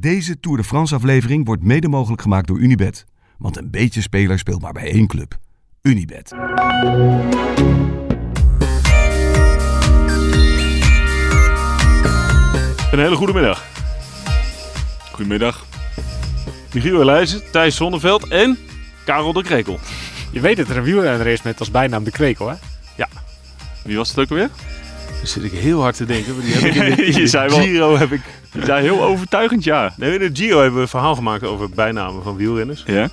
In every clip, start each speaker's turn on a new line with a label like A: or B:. A: Deze Tour de France-aflevering wordt mede mogelijk gemaakt door Unibed. Want een beetje speler speelt maar bij één club. Unibed.
B: Een hele goede middag. Goedemiddag. Michiel Elijzen, Thijs Zonneveld en Karel de Krekel.
C: Je weet dat er een wielrenner is met als bijnaam de krekel, hè?
B: Wie was het ook weer?
D: Dan zit ik heel hard te denken. want die heb ik in de, in
B: Je
D: de
B: zei wel-
D: Giro heb ik.
B: Die zei heel overtuigend ja.
D: Nee, in de Giro hebben we een verhaal gemaakt over bijnamen van wielrenners.
B: Ja?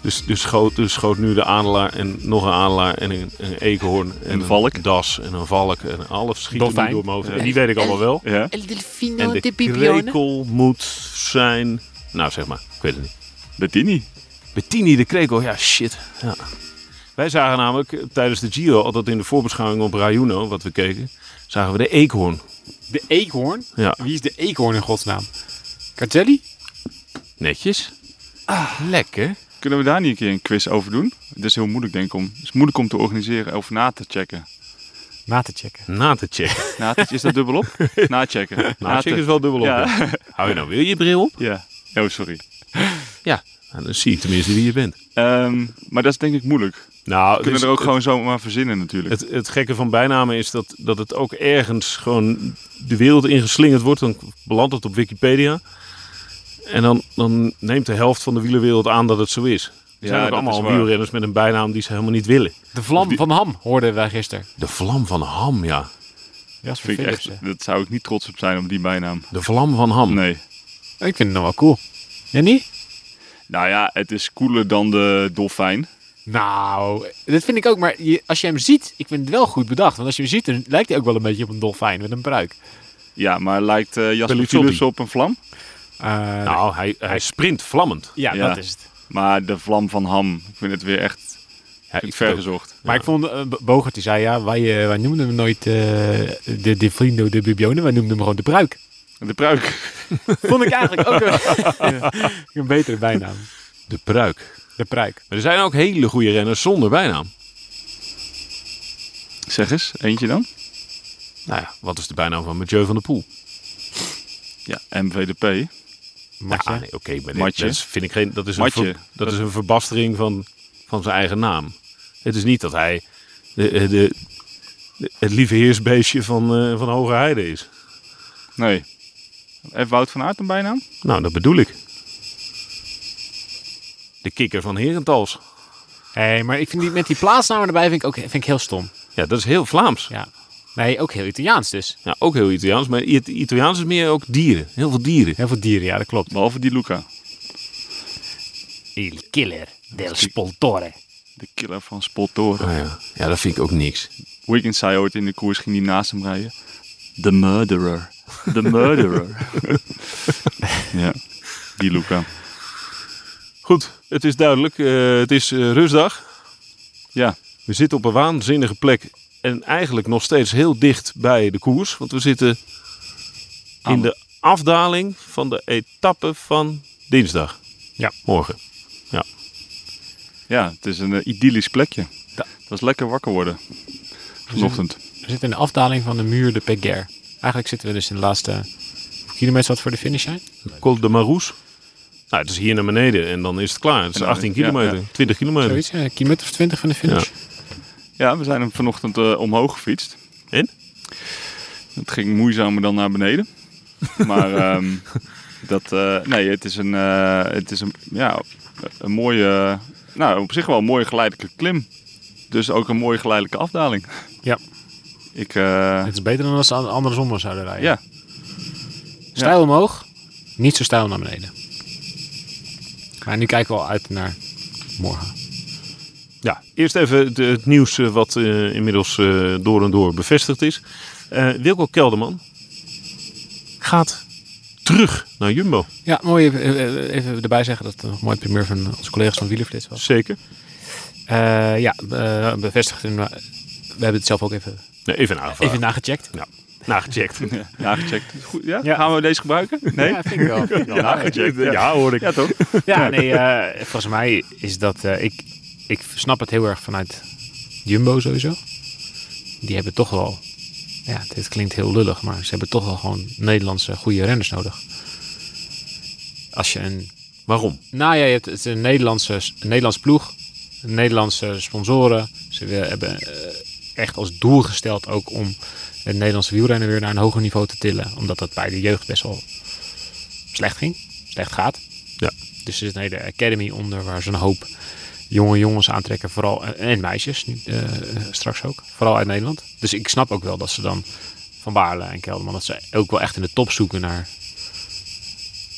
D: Dus, dus, schoot, dus schoot nu de adelaar en nog een adelaar en een, een eekhoorn. En
B: Een valk.
D: das en een valk en alles schiet er
C: Dolfijn.
D: nu door mijn hoofd. heen. Die weet ik allemaal wel.
B: Ja?
E: El delfino
D: En
E: de,
D: de
E: Bibione.
D: krekel moet zijn... Nou, zeg maar. Ik weet het niet.
B: Bettini.
D: Bettini de krekel. Ja, shit. Ja. Wij zagen namelijk eh, tijdens de Giro, altijd in de voorbeschouwing op Rayuno, wat we keken, zagen we de eekhoorn.
C: De eekhoorn?
D: Ja,
C: Wie is de eekhoorn in godsnaam? Cartelli?
D: netjes. Ah, Lekker.
B: Kunnen we daar niet een keer een quiz over doen? Het is heel moeilijk, denk ik. Om. Het is moeilijk om te organiseren of na te checken.
C: Na te checken.
D: Na te checken.
B: Na te, is dat dubbelop? Na checken.
D: Nou, check is wel dubbel op.
B: Ja.
D: hè. Hou je nou weer je bril op?
B: Ja. Oh, sorry.
D: Ja. dan zie je tenminste wie je bent.
B: Ehm, maar dat is denk ik moeilijk. We
D: Nou,
B: kunnen
D: dus
B: er ook
D: het,
B: gewoon zomaar verzinnen natuurlijk.
D: Het, het gekke van bijnamen is dat, dat het ook ergens gewoon de wereld ingeslingerd wordt. Dan belandt het op Wikipedia. En dan, dan neemt de helft van de wielerwereld aan dat het zo is. Er
B: Ja,
D: zijn ook
B: dat is
D: allemaal
B: waar.
D: wielrenners met een bijnaam die ze helemaal niet willen.
C: De vlam van Ham hoorden wij gisteren.
D: De vlam van Ham, ja.
C: Jasper
B: Vind ik
C: Philipsen.
B: echt, dat zou ik niet trots op zijn, op die bijnaam.
D: De vlam van Ham.
B: Nee.
C: Ik vind het nog wel cool. Ja, niet?
B: Nou ja, het is cooler dan de dolfijn.
C: Nou, dat vind ik ook. Maar je- als je hem ziet, ik vind het wel goed bedacht. Want als je hem ziet, dan lijkt hij ook wel een beetje op een dolfijn met een pruik.
B: Ja, maar lijkt eh, Jasper
D: Pellucciotto.
B: Philips op een vlam?
C: nou,
D: Nou, hij, hij sprint vlammend.
C: ja,
B: ja.
C: dat is het.
B: Maar de vlam van Ham, ik vind het weer echt
D: Ja,
B: ik vergezocht.
C: Maar ik vond, eh, B- Bogert die zei ja, wij, eh, wij noemden hem nooit eh, de de Vriendo de Bibione, wij noemden hem gewoon de Pruik.
B: De pruik.
C: Vond ik eigenlijk ook een, een betere bijnaam.
D: De pruik.
C: De Pruik.
D: Maar er zijn ook hele goede renners zonder bijnaam.
B: Zeg eens, eentje dan.
D: Nou ja, wat is de bijnaam van Mathieu van der Poel?
B: Ja, MVDP.
C: Matje.
D: Ah, nee, oké, maar dit-
B: Matje.
D: dat is, vind ik geen. Dat is een,
B: Matje.
D: ver- dat is een verbastering van, van zijn eigen naam. Het is niet dat hij de, eh, de, de- het lieve heersbeestje van, eh, van Hoge Heide is.
B: Nee. Even Wout van Aert een bijnaam?
D: Nou, dat bedoel ik. De kikker van Herentals.
C: Hey, maar ik vind die met die plaatsnamen erbij vind ik ook vind ik heel stom.
D: Ja, dat is heel Vlaams.
C: Ja. Nee, ook heel Italiaans dus.
D: Ja, ook heel Italiaans. Maar It- Italiaans is meer ook dieren. Heel veel dieren.
C: Heel veel dieren, ja, dat klopt.
B: Behalve die Luca.
C: Il killer del spoltore.
B: De killer van Spoltoren.
D: Ah, ja. ja, dat vind ik ook niks.
B: Wiggins zei ooit in de koers, ging die naast hem rijden. The murderer. The murderer. ja, die Luca.
D: Goed, het is duidelijk. eh, het is eh, rustdag.
B: Ja,
D: We zitten op een waanzinnige plek. En eigenlijk nog steeds heel dicht bij de koers. Want we zitten in
B: Aan-
D: de afdaling van de etappe van dinsdag.
C: Ja.
D: Morgen.
B: ja het is een eh, idyllisch plekje.
C: Ja.
B: Dat was lekker wakker worden. Vanochtend.
C: We zitten in de afdaling van de muur de Peguer. Eigenlijk zitten we dus in de laatste kilometer wat voor de finish zijn.
D: Col de Maroes. Nou, het is hier naar beneden en dan is het klaar. Het is
B: dan-
D: 18
B: ja,
D: kilometer, 20 kilometer.
C: Zoiets, eh, een kilometer of twintig van de finish.
B: Ja, we zijn hem vanochtend eh, omhoog gefietst.
D: En?
B: Het ging moeizamer dan naar beneden. Maar ehm, dat, eh, nee, het is een, eh, het is een, ja, een mooie, eh, nou op zich wel een mooie geleidelijke klim. Dus ook een mooie geleidelijke afdaling.
C: Ja.
B: Ik, eh,
C: Het is beter dan als ze andersom maar zouden rijden.
B: ja,
C: Stijl omhoog, niet zo stijl naar beneden. Maar nu kijken we al uit naar morgen.
D: Ja, eerst even het, het nieuws eh, wat eh, inmiddels eh, door en door bevestigd is. Eh, Wilco Kelderman gaat terug naar Jumbo.
C: Ja, mooi even, eh, even erbij zeggen dat het nog een mooi primeur van onze collega's van Wielerflits was.
D: Zeker.
C: Eh, ja, eh, bevestigd. En, eh, we hebben het zelf ook even,
D: Nee, even nagevraagd.
C: even nagecheckt.
D: nagecheckt.
B: ja, gecheckt. Goed, ja?
C: Ja.
B: Gaan we deze gebruiken? Nee?
C: Ja, vind ik wel.
B: Ja, gecheckt. Ja,
D: Ja, hoor ik.
B: Ja, toch?
C: Ja, nee, eh, volgens mij is dat... eh, ik, ik snap het heel erg vanuit Jumbo sowieso. Die hebben toch wel... Ja, dit klinkt heel lullig, maar ze hebben toch wel gewoon Nederlandse goede renners nodig. Als je een
D: Waarom?
C: nou ja, je hebt, het is een, Nederlandse, een Nederlands ploeg. Nederlandse sponsoren. Ze wil- hebben eh, echt als doel gesteld ook om het Nederlandse wielrennen weer naar een hoger niveau te tillen. Omdat dat bij de jeugd best wel slecht ging. Slecht gaat.
D: Ja.
C: Dus er is een hele academy onder waar ze een hoop jonge jongens aantrekken. Vooral, en en meisjes nu, eh, straks ook. Vooral uit Nederland. Dus ik snap ook wel dat ze dan van Baarle en Kelderman... dat ze ook wel echt in de top zoeken naar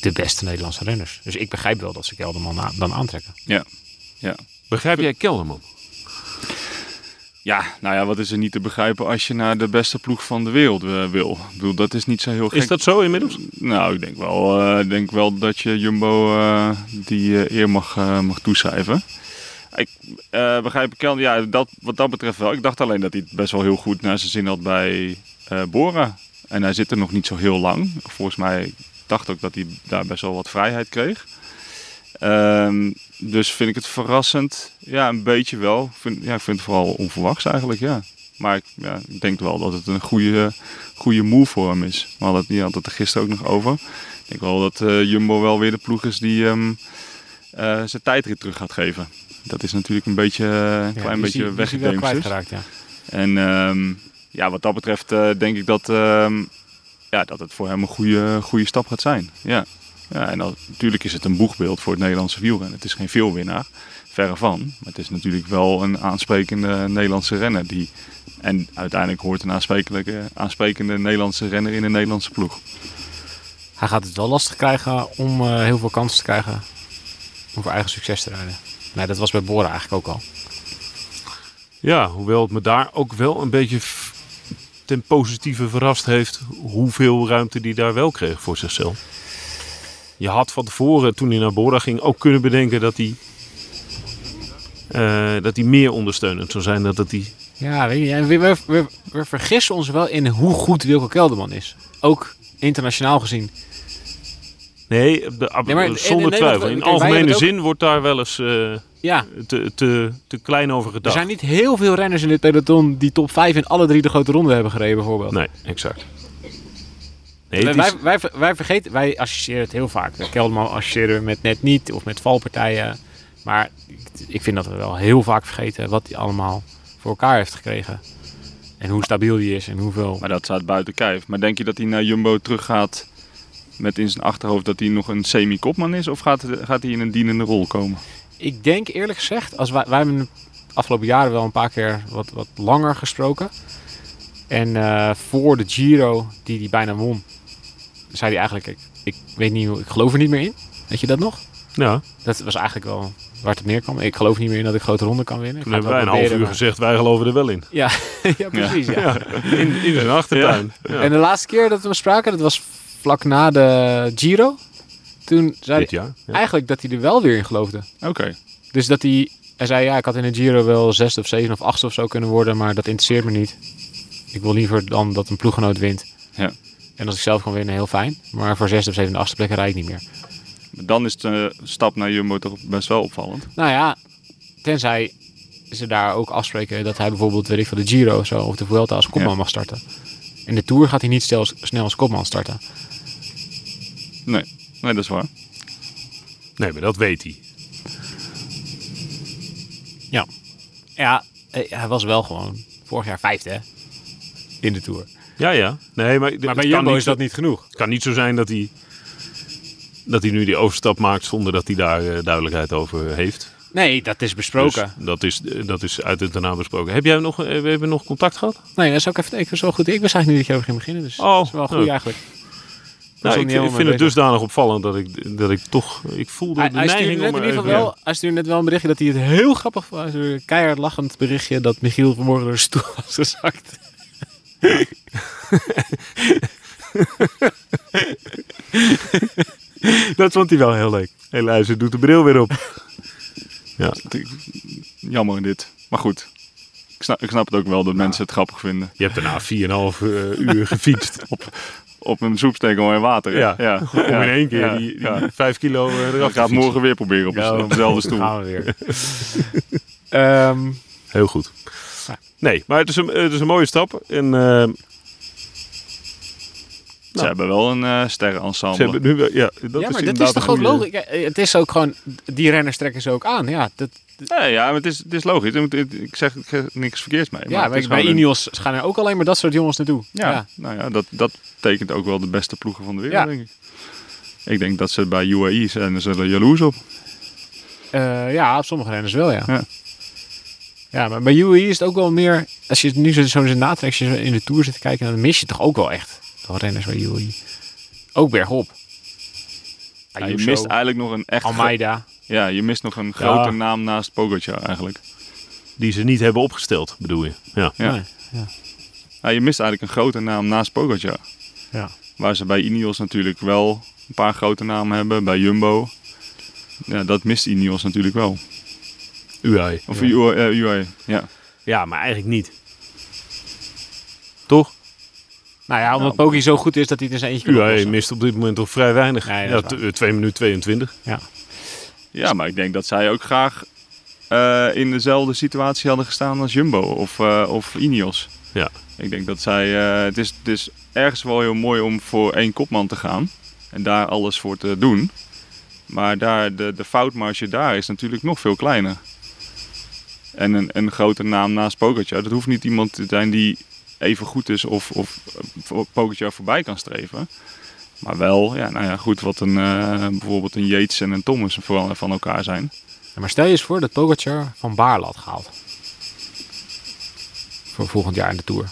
C: de beste Nederlandse renners. Dus ik begrijp wel dat ze Kelderman a- dan aantrekken.
B: Ja. ja.
D: Begrijp jij Kelderman?
B: Ja, nou ja, wat is er niet te begrijpen als je naar de beste ploeg van de wereld eh, wil? Ik bedoel, dat is niet zo heel gek.
D: Is dat zo inmiddels?
B: Nou, ik denk wel, eh, ik denk wel dat je Jumbo eh, die eh, eer mag, eh, mag toeschrijven. Ik eh, begrijp ik wel, ja, dat, wat dat betreft wel. Ik dacht alleen dat hij het best wel heel goed naar zijn zin had bij eh, Bora. En hij zit er nog niet zo heel lang. Volgens mij ik dacht ook dat hij daar best wel wat vrijheid kreeg. Ehm, dus vind ik het verrassend. Ja, een beetje wel. Ik Vind, ja, ik vind het vooral onverwachts eigenlijk, ja. Maar ik, ja, ik denk wel dat het een goede, goede move voor hem is. We hadden het, die had het er gisteren ook nog over. Ik denk wel dat eh, Jumbo wel weer de ploeg is die hem eh, zijn tijdrit terug gaat geven. Dat is natuurlijk een beetje eh, een klein beetje weggedemd.
C: kwijtgeraakt, ja.
B: En ehm, ja, wat dat betreft eh, denk ik dat, ehm, ja, dat het voor hem een goede, goede stap gaat zijn. Ja. Ja, en dan- natuurlijk is het een boegbeeld voor het Nederlandse wielrennen. Het is geen veelwinnaar, verre van. Maar het is natuurlijk wel een aansprekende Nederlandse renner. Die, en uiteindelijk hoort een aansprekelijke, aansprekende Nederlandse renner in een Nederlandse ploeg.
C: Hij gaat het wel lastig krijgen om eh, heel veel kansen te krijgen om voor eigen succes te rijden. Nee, dat was bij Bora eigenlijk ook al.
D: Ja, hoewel het me daar ook wel een beetje f- ten positieve verrast heeft hoeveel ruimte die daar wel kreeg voor zichzelf. Je had van tevoren, toen hij naar Bora ging, ook kunnen bedenken dat hij, eh, dat hij meer ondersteunend zou zijn. dan Dat hij,
C: Ja, weet je, en we, we, we, we vergissen ons wel in hoe goed Wilco Kelderman is. Ook internationaal gezien.
D: nee, de- ab-
C: Nee, maar in- in
D: zonder
C: Nederland-
D: twijfel. In
C: kijk, wij hebben
D: algemene
C: het ook-
D: zin wordt daar wel eens eh,
C: Ja,
D: te, te, te klein over
C: er
D: gedacht.
C: zijn niet heel veel renners in dit peloton die top 5 in alle drie de grote ronden hebben gereden bijvoorbeeld.
D: Nee, exact. Nee, het
C: wij,
D: is-
C: wij, wij, wij vergeten, wij associëren het heel vaak. Kelderman associëren we met net niet of met valpartijen. Maar ik- ik vind dat we wel heel vaak vergeten wat hij allemaal voor elkaar heeft gekregen. En hoe stabiel die is en hoeveel.
B: Maar dat staat buiten kijf. Maar denk je dat hij naar Jumbo teruggaat met in zijn achterhoofd dat hij nog een semi-kopman is? Of gaat, gaat hij in een dienende rol komen?
C: Ik denk eerlijk gezegd, als wij, wij hebben de afgelopen jaren wel een paar keer wat, wat langer gesproken. En eh, voor de Giro, die hij bijna won, zei hij eigenlijk: ik, ik weet niet hoe, ik geloof er niet meer in. Weet je dat nog?
D: ja,
C: Dat was eigenlijk wel waar het op neerkwam. Ik geloof niet meer in dat ik grote ronden kan winnen. Ik
D: toen
C: ga het
D: hebben wij een half
C: wel proberen,
D: uur
C: maar-
D: gezegd, wij geloven er wel in.
C: Ja, ja precies. Ja.
D: In, in zijn achtertuin. Ja.
C: En de laatste keer dat we hem spraken, dat was vlak na de Giro. Toen zei
D: Dit
C: hij
D: jaar. Ja.
C: eigenlijk dat hij er wel weer in geloofde.
B: Oké.
C: Dus dat hij, hij zei, ja, ik had in de Giro wel zesde of zeven of achtste of zo kunnen worden, maar dat interesseert me niet. Ik wil liever dan dat een ploeggenoot wint.
B: Ja.
C: En als ik zelf kan winnen, heel fijn. Maar voor zesde of zevende, achtste plekken rijd ik niet meer.
B: Maar Dan is de stap naar Jumbo toch best wel opvallend.
C: Nou ja, tenzij ze daar ook afspreken dat hij bijvoorbeeld, weet ik van de Giro of zo, of de Vuelta als kopman
B: Ja.
C: mag starten. In de Tour gaat hij niet stel- snel als kopman starten.
B: Nee, nee dat is waar.
D: Nee, maar dat weet hij.
C: Ja. Ja, eh, hij was wel gewoon vorig jaar vijfde hè? in de Tour.
D: Ja, ja. Nee, maar,
C: Maar bij Jumbo is dat niet genoeg.
D: Het kan niet zo zijn dat hij, dat hij nu die overstap maakt zonder dat hij daar eh, duidelijkheid over heeft.
C: Nee, dat is
D: Dus
C: besproken.
D: dat, is, eh, dat is uit het daarna besproken. Heb jij nog, eh, we hebben nog contact gehad?
C: Nee, dat is ook even. Ik was wel goed. Ik wist eigenlijk niet dat je over ging beginnen. Dus
D: Oh,
C: dat is wel goed
D: ja.
C: eigenlijk. was
D: Nou,
C: ook
D: ik,
C: niet helemaal
D: ik vind
C: mee
D: het dusdanig opvallend dat ik, dat ik toch... Ik voelde
C: Hij,
D: de
C: hij stuurde
D: neiging
C: net
D: om
C: in
D: er
C: ieder geval
D: even-
C: wel, hij stuurde net wel een berichtje dat hij het heel grappig vond. Hij stuurde Een keihard lachend berichtje dat Michiel vanmorgen door de stoel was gezakt.
D: Dat vond hij wel heel leuk. Helaas, ze doet de bril weer op.
B: Jammer dit. Maar goed, ik snap, ik snap het ook wel dat mensen het grappig vinden.
D: Je hebt daarna 4,5 eh, uur gefietst.
B: Op een soepstekel en water. hè?
D: Ja. Om
B: Ja.
D: in één keer
B: Ja.
D: die, die
B: Ja.
D: vijf kilo eh,
B: Ik
D: eraf
B: ga
D: te
B: het
D: fietsen.
B: morgen weer proberen op, de- op dezelfde stoel.
C: Gaan we weer. Ehm,
D: Heel goed.
C: Ja.
D: Nee, maar het is een, het is een mooie stap. En eh,
B: Ze hebben wel een eh sterrenensemble.
D: Ze hebben nu wel, ja, dat
C: ja,
D: is
C: maar dat
D: inderdaad
C: is toch ook
D: een goede-
C: logisch? Kijk, eh, Het is ook gewoon, die renners trekken ze ook aan. Ja, dat,
B: Ja, ja maar het is, het is logisch. Ik moet- Ik zeg, ik zeg niks verkeerds mee.
C: ja
B: maar het
C: bij,
B: is
C: bij
B: gewoon een-
C: Ineos gaan er ook alleen maar dat soort jongens naartoe.
B: Ja, nou ja, dat, dat tekent ook wel de beste ploegen van de wereld,
C: Ja.
B: denk ik. Ik denk dat ze bij UAE zijn ze er jaloers op.
C: Eh, ja, op sommige renners wel, ja.
B: Ja.
C: ja. maar bij UAE is het ook wel meer... Als je het nu zo, zo eens natrekt, als je in de Tour zit te kijken... dan mis je toch ook wel echt wel renners bij UAE. Ook bergop.
B: Ja, je
C: Ayuso,
B: mist eigenlijk nog een echt... gro-
C: E Almeida.
B: Ja, je mist nog een grote naam naast Pogacar eigenlijk.
D: Die ze niet hebben opgesteld, bedoel je. Ja.
B: Ja.
C: Nee,
B: Ja, je mist eigenlijk een grote naam naast Pogacar.
C: ja.
B: Waar ze bij Ineos natuurlijk wel een paar grote namen hebben. Bij Jumbo. Ja, dat mist Ineos natuurlijk wel.
D: UAE.
B: Of UAE, eh, UAE, ja.
D: Ja, maar eigenlijk niet. Toch?
C: Nou ja, omdat Poki zo goed is dat hij het in zijn eentje kan
B: E,
D: UAE
C: oplossen.
D: mist op dit moment toch vrij weinig.
C: Nee,
D: ja,
C: dat is
D: 2 minuten 22.
C: Ja.
B: Ja, maar ik denk dat zij ook graag eh, in dezelfde situatie hadden gestaan als Jumbo of, eh, of Ineos.
D: Ja.
B: Ik denk dat zij... eh, het, is, het is ergens wel heel mooi om voor één kopman te gaan. En daar alles voor te doen. Maar daar, de, de foutmarge daar is natuurlijk nog veel kleiner. En een, een grote naam naast Pogacar. Dat hoeft niet iemand te zijn die even goed is of, of eh, voor- Pogacar voorbij kan streven. Maar wel, ja, nou ja, goed wat een, eh, bijvoorbeeld een Yates en een Thomas vooral van elkaar zijn.
C: Ja, maar stel je eens voor dat Pogacar van Baarle had gehaald. Voor volgend jaar in de Tour.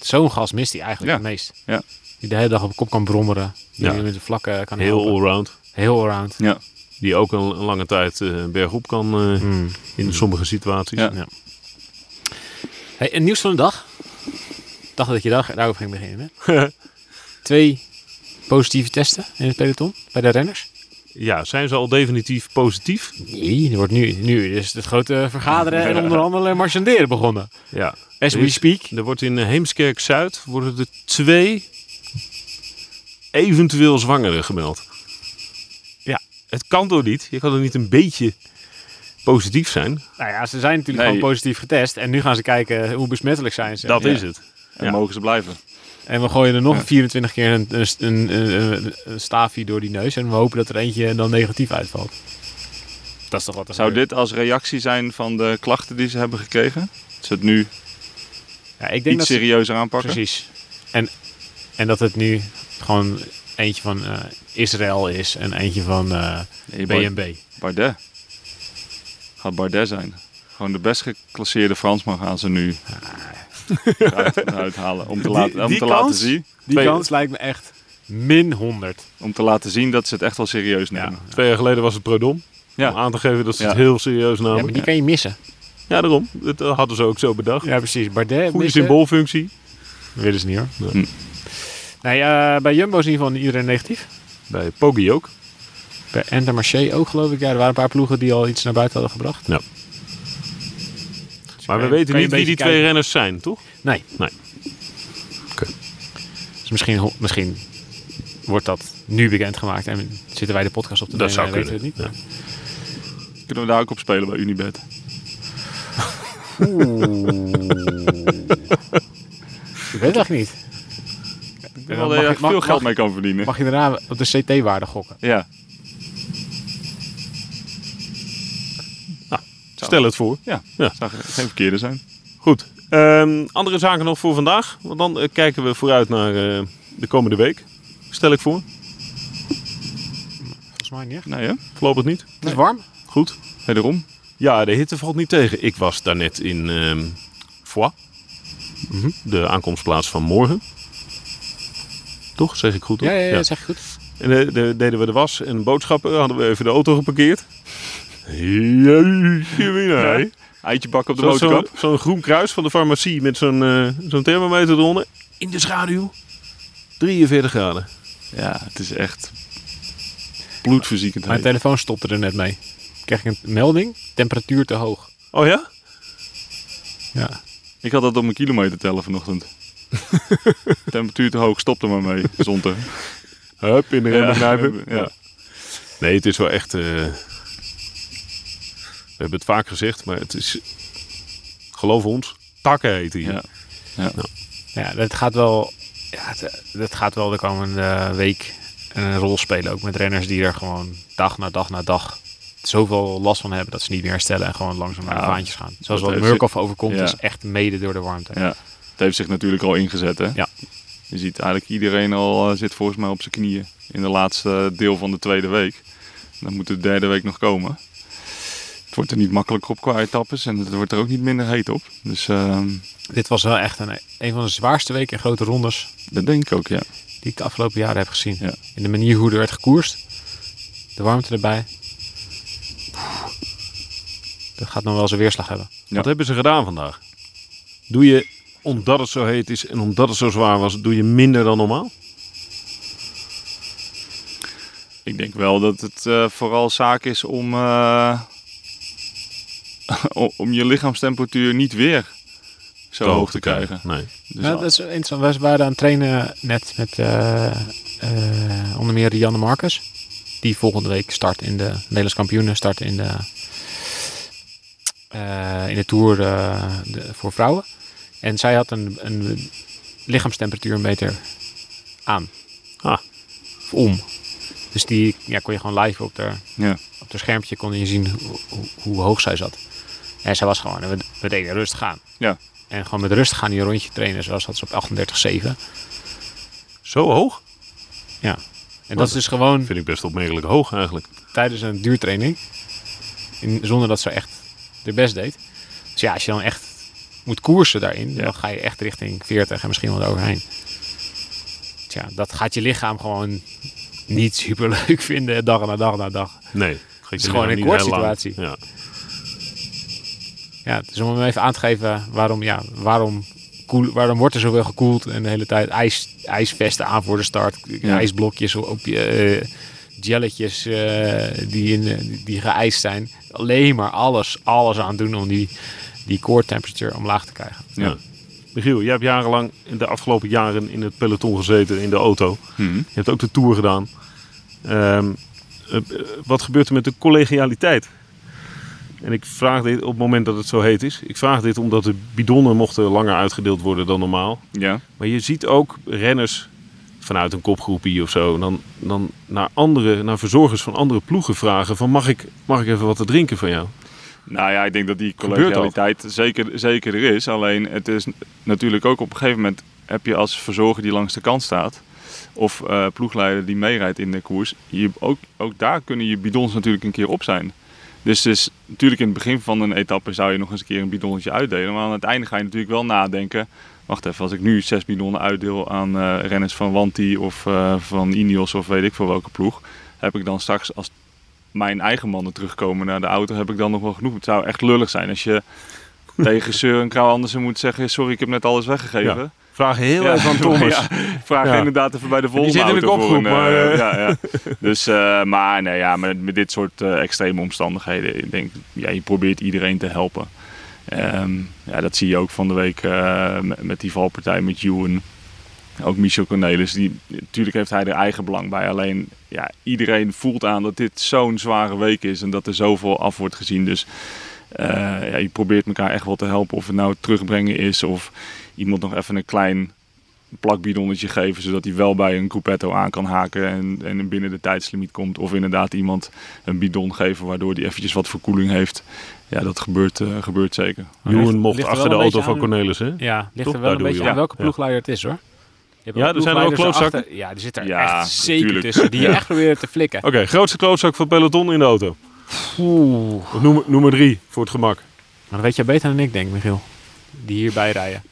C: Zo'n gast mist hij eigenlijk
B: Ja.
C: het meest.
B: Ja.
C: Die de hele dag op kop kan brommeren. Die
D: Ja.
C: met de vlakken kan
D: Heel
C: helpen.
D: allround.
C: Heel allround.
B: Ja,
D: Die ook een, een lange tijd eh, bergop kan eh,
C: Hmm.
D: in sommige situaties.
B: Mm. Ja.
C: Hey, en nieuws van de dag. Ik dacht dat je daar, daarover ging beginnen. Hè? Twee positieve testen in het peloton bij de renners.
D: Ja, zijn ze al definitief positief?
C: Nee, er wordt nu, nu is het grote vergaderen en onderhandelen en marchanderen begonnen.
D: Ja.
C: As
D: Er
C: we
D: is-
C: speak.
D: Er wordt in eh, Heemskerk-Zuid worden er twee eventueel zwangeren gemeld. Ja, het kan toch niet? Je kan er niet een beetje positief zijn?
C: Nou ja, ze zijn natuurlijk
B: Nee.
C: gewoon positief getest. En nu gaan ze kijken hoe besmettelijk zijn ze.
D: Dat
B: Ja.
D: is het.
B: en
D: Ja.
B: mogen ze blijven.
C: En we gooien er nog 24 keer een, een, een, een, een staafje door die neus. En we hopen dat er eentje dan negatief uitvalt. Dat is toch wat er
B: Zou
C: gebeurt.
B: dit als reactie zijn van de klachten die ze hebben gekregen? Ze het nu
C: Ja, ik denk
B: iets
C: dat ze-
B: serieuzer aanpakken?
C: Precies. En, en dat het nu gewoon eentje van eh, Israël is en eentje van eh
B: Nee, Bar-
C: BNB.
B: Bardet. Gaat Bardet zijn. Gewoon de best geclasseerde Fransman gaan ze nu eruit, eruit halen. Om te, laten, om
D: die
B: te laten
D: kans?
B: zien.
C: Ah. Die
D: Tweede.
C: kans lijkt me echt min 100.
B: Om te laten zien dat ze het echt wel serieus
C: Ja.
B: nemen.
D: Twee jaar geleden was het Prodom.
B: Ja.
D: Om aan te geven dat ze het
B: Ja.
D: heel serieus
C: Ja,
D: namen.
C: maar
D: Ja,
C: die kan je missen.
D: daarom. Dat eh, hadden ze ook zo bedacht.
C: Ja, precies. Bardet
D: Goede
C: missen.
D: symboolfunctie.
C: Willen ze niet hoor.
D: Nee.
B: Hm.
C: Nee, eh, bij Jumbo is in ieder geval iedereen negatief.
D: Bij Poggi ook.
C: Bij Entermarché ook geloof ik. Ja, er waren een paar ploegen die al iets naar buiten hadden gebracht.
D: Ja. Maar we
C: kan je-
D: weten
C: kan je
D: niet
C: een
D: wie die
C: beetje
D: twee
C: kijken.
D: renners zijn, toch?
C: Nee.
D: Nee. Oké.
C: Dus misschien, ho- misschien wordt dat nu bekendgemaakt en zitten wij de podcast op te
D: Dat
C: nemen
D: zou
C: en
D: kunnen.
C: weten we het niet.
D: Ja.
B: Kunnen we daar ook op spelen bij Unibet?
C: Ik weet het echt niet.
B: Ik
C: Ja,
B: denk wel
C: Eh, mag
B: dat je
C: ik-
B: daar
C: mag-
B: veel geld
C: mag-
B: mee kan verdienen.
C: Mag je daarna op de CT-waarde gokken?
B: Ja.
C: Nou,
D: Stel het voor.
B: Ja,
D: Ja.
B: zou ge- geen verkeerde zijn.
D: Goed. Ehm, andere zaken nog voor vandaag. Want dan eh, kijken we vooruit naar eh, de komende week. Stel ik voor.
C: Volgens mij niet.
B: Nou ja,
D: Voorlopig niet.
C: Het is warm.
D: Goed.
B: wederom.
D: Ja, de hitte valt niet tegen. Ik was daarnet in ehm Foix. De aankomstplaats van morgen. Toch? Zeg ik goed? toch?
C: Ja, ja, ja, dat zeg je goed.
D: En eh, de- deden we de was en boodschappen. Hadden we even de auto geparkeerd. Jeetje, mina, hè?
B: Eitje bakken op de
D: Zo- Zo'n
B: motorkap.
D: zo'n groen kruis van de farmacie met zo'n eh, zo'n thermometer eronder. In de schaduw. 43 graden.
B: Ja, het is echt bloedverziekend.
C: Mijn
B: heet.
C: telefoon stopte er net mee. Kreeg ik een melding? Temperatuur te hoog.
D: Oh ja?
C: Ja.
B: Ik had dat op mijn kilometer tellen vanochtend. Temperatuur te hoog, stop er maar mee, zonte.
D: Hup, in de remmen knijpen.
B: ja.
D: Nee, het is wel echt... eh, We hebben het vaak gezegd, maar het is... Geloof ons, takken heet hier.
B: Ja.
C: ja, dat gaat wel... ja, het- dat gaat wel de komende week een rol spelen. Ook met renners die er gewoon dag na dag na dag zoveel last van hebben dat ze niet meer herstellen en gewoon langzaam naar de
B: Ja.
C: baantjes gaan. Zoals
B: Dat
C: wat
B: heeft-
C: Murkoff overkomt
B: ja.
C: is echt mede door de warmte.
B: Ja. Het heeft zich natuurlijk al ingezet, hè?
C: Ja.
B: Je ziet eigenlijk iedereen al eh, zit volgens mij op zijn knieën in de laatste deel van de tweede week. Dan moet de derde week nog komen. Het wordt er niet makkelijker op qua etappes en het wordt er ook niet minder heet op. Dus ehm,
C: Dit was wel echt een, een van de zwaarste weken en grote rondes
B: dat denk ik ook, ja.
C: die ik de afgelopen jaren heb gezien.
B: Ja.
C: In de manier hoe er werd gekoerst. De warmte erbij. Dat gaat nog wel eens een weerslag hebben.
B: Ja.
D: Wat hebben ze gedaan vandaag? Doe je, omdat het zo heet is en omdat het zo zwaar was, doe je minder dan normaal?
B: Ik denk wel dat het eh, vooral zaak is om, eh, o- om je lichaamstemperatuur niet weer zo hoog te krijgen.
D: Nee.
B: Dus
C: ja, dat is interessant. Wij waren aan het trainen net met eh, eh, onder meer Rianne Marcus. Die volgende week start in de Nederlands kampioenen, start in de, eh, in de Tour eh, de- voor vrouwen. En zij had een, een lichaamstemperatuurmeter aan.
D: Ah.
C: Of om. Dus die ja, kon je gewoon live op haar
B: ja.
C: op het schermpje kon je zien hoe, hoe, hoe hoog zij zat. En zij was gewoon, we, we deden rustig aan.
B: Ja.
C: En gewoon met rustig aan die rondje trainen, zoals dat ze op 38,7.
D: Zo hoog?
C: Ja. En dat is dus gewoon
D: Vind ik best opmerkelijk hoog eigenlijk.
C: tijdens een duurtraining. In, zonder dat ze echt de best deed. Dus ja, als je dan echt moet koersen daarin, dan ga je echt richting 40 en misschien wel overheen. Tja, dat gaat je lichaam gewoon niet super leuk vinden, dag na dag na dag.
D: Nee. nou Het
C: is gewoon een koortsituatie.
D: Ja.
C: Ja, het is om hem even aan te geven waarom, ja, waarom, koel, waarom wordt er zoveel gekoeld en de hele tijd ijs, ijsvesten aan voor de start,
B: Ja.
C: ijsblokjes op je, eh, jelletjes eh, die, in, eh, die geëist zijn. Alleen maar alles, alles aan doen om die, die core temperature omlaag te krijgen.
D: Ja. Michiel, jij hebt jarenlang in de afgelopen jaren in het peloton gezeten in de auto.
B: Mhm.
D: Je hebt ook de tour gedaan. Ehm, eh, eh, wat gebeurt er met de collegialiteit? En ik vraag dit op het moment dat het zo heet is. Ik vraag dit omdat de bidonnen mochten langer uitgedeeld worden dan normaal.
B: ja.
D: Maar je ziet ook renners vanuit een kopgroepie of zo. Dan, dan naar, andere, naar verzorgers van andere ploegen vragen van mag ik, mag ik even wat te drinken van jou?
B: Nou ja, ik denk dat die
D: Gebeurt ook.
B: collegialiteit zeker, zeker er is. Alleen het is n- natuurlijk ook op een gegeven moment heb je als verzorger die langs de kant staat. Of eh, ploegleider die meerijdt in de koers. Je, ook, ook daar kunnen je bidons natuurlijk een keer op zijn. Dus het is natuurlijk in het begin van een etappe zou je nog eens een keer een bidonnetje uitdelen. Maar aan het einde ga je natuurlijk wel nadenken. Wacht even, als ik nu zes bidonnen uitdeel aan eh, renners van Wanti of eh, van Ineos of weet ik veel welke ploeg. Heb ik dan straks als mijn eigen mannen terugkomen naar de auto, heb ik dan nog wel genoeg. Het zou echt lullig zijn als je tegen Seur en Krauw Andersen moet zeggen: Sorry, ik heb net alles weggegeven.
D: Vraag heel
B: Ja,
D: even aan Thomas.
B: ja, vraag
D: Ja.
B: inderdaad even bij de volgende
D: zit in de
B: auto voor
D: kopgroep,
B: een, eh,
D: maar, eh.
B: ja, ja. Dus, eh, maar nee, ja, met, met dit soort eh, extreme omstandigheden, ik denk, ja, je probeert iedereen te helpen. Ehm, ja, dat zie je ook van de week eh, met, met die valpartij met Ewan. Ook Michel Cornelis, die, natuurlijk heeft hij er eigen belang bij. Alleen ja, iedereen voelt aan dat dit zo'n zware week is en dat er zoveel af wordt gezien. Dus eh, ja, je probeert elkaar echt wel te helpen. Of het nou terugbrengen is of iemand nog even een klein plakbidonnetje geven, zodat hij wel bij een gruppetto aan kan haken en, en binnen de tijdslimiet komt. Of inderdaad iemand een bidon geven, waardoor hij eventjes wat verkoeling heeft. Ja, dat gebeurt, eh, gebeurt zeker.
D: Joen
C: Ligt
D: mocht
C: er
D: achter
C: wel
D: de
C: een
D: auto
C: beetje
D: van
C: aan-
D: Cornelis, hè?
C: Ja, ligt
D: Toch?
C: er wel
D: Daar doe
C: een
D: je
C: beetje
D: wel.
C: aan welke
D: Ja.
C: ploegleider het is hoor. Je hebt
D: Ja, er zijn wel
C: ploegleiders
D: klootzakken.
C: erachter- Ja, die zitten er
B: Ja,
C: echt zeker
B: natuurlijk.
C: tussen. Die je
B: Ja.
C: echt proberen te flikken.
D: Oké, grootste klootzak van het peloton in de auto. Noem, nummer drie, voor het gemak.
C: Maar dat weet jij beter dan ik denk, Michiel. Die hierbij rijden.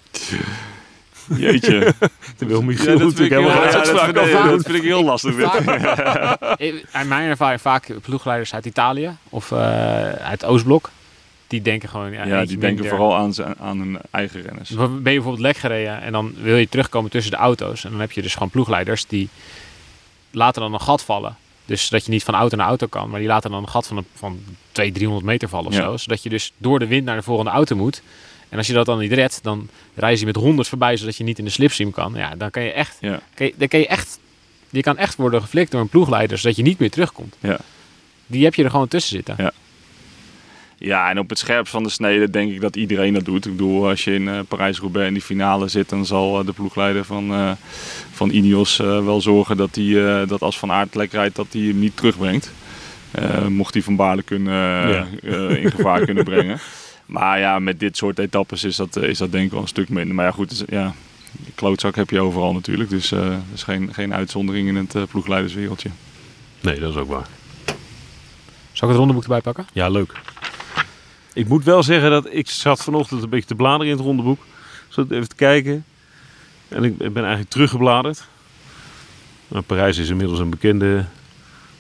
B: Jeetje.
D: Dat wil Michiel
B: Ja, dat
D: natuurlijk
B: vind ik heel,
D: helemaal
B: ja,
D: geen
B: dat
D: uitspraak
B: vind ik-
D: over doen.
B: dat vind ik heel lastig. dit.
C: Eh, Uit mijn ervaring vaak ploegleiders uit Italië of eh, uit Oostblok. Die denken gewoon... Ja,
B: Ja,
C: eentje
B: die denken
C: minder.
B: vooral aan, zijn- aan hun eigen renners.
C: Ben je bijvoorbeeld lek gereden en dan wil je terugkomen tussen de auto's. En dan heb je dus gewoon ploegleiders die laten dan een gat vallen. Dus dat je niet van auto naar auto kan. Maar die laten dan een gat van, een, van 200, 300 meter vallen of
B: Ja.
C: zo. Zodat je dus door de wind naar de volgende auto moet. En als je dat dan niet redt, dan reizen ze met 100 voorbij. Zodat je niet in de slipstream kan. Ja, dan kan je echt...
B: Ja.
C: Kan je, dan kan je echt... Je kan echt worden geflikt door een ploegleider, zodat je niet meer terugkomt.
B: Ja.
C: Die heb je er gewoon tussen zitten.
B: Ja. Ja, en op het scherpst van de snede denk ik dat iedereen dat doet. Ik bedoel, als je in eh, Parijs-Roubaix in die finale zit, dan zal eh, de ploegleider van, eh, van Ineos eh, wel zorgen dat, die, eh, dat als Van Aert lek rijdt, dat hij hem niet terugbrengt. Eh, mocht hij Van Baarle kunnen, eh,
D: Ja.
B: eh, in gevaar kunnen brengen. Maar ja, met dit soort etappes is dat, eh, is dat denk ik wel een stuk minder. Maar ja, goed, dus, ja, klootzak heb je overal natuurlijk. Dus eh dat is geen, geen uitzondering in het eh, ploegleiderswereldje.
D: Nee, dat is ook waar.
C: Zal ik het rondeboek erbij pakken?
D: Ja, leuk. Ik moet wel zeggen dat ik zat vanochtend een beetje te bladeren in het rondeboek. Zat even te kijken. En ik ben eigenlijk teruggebladerd. Nou, Parijs is inmiddels een bekende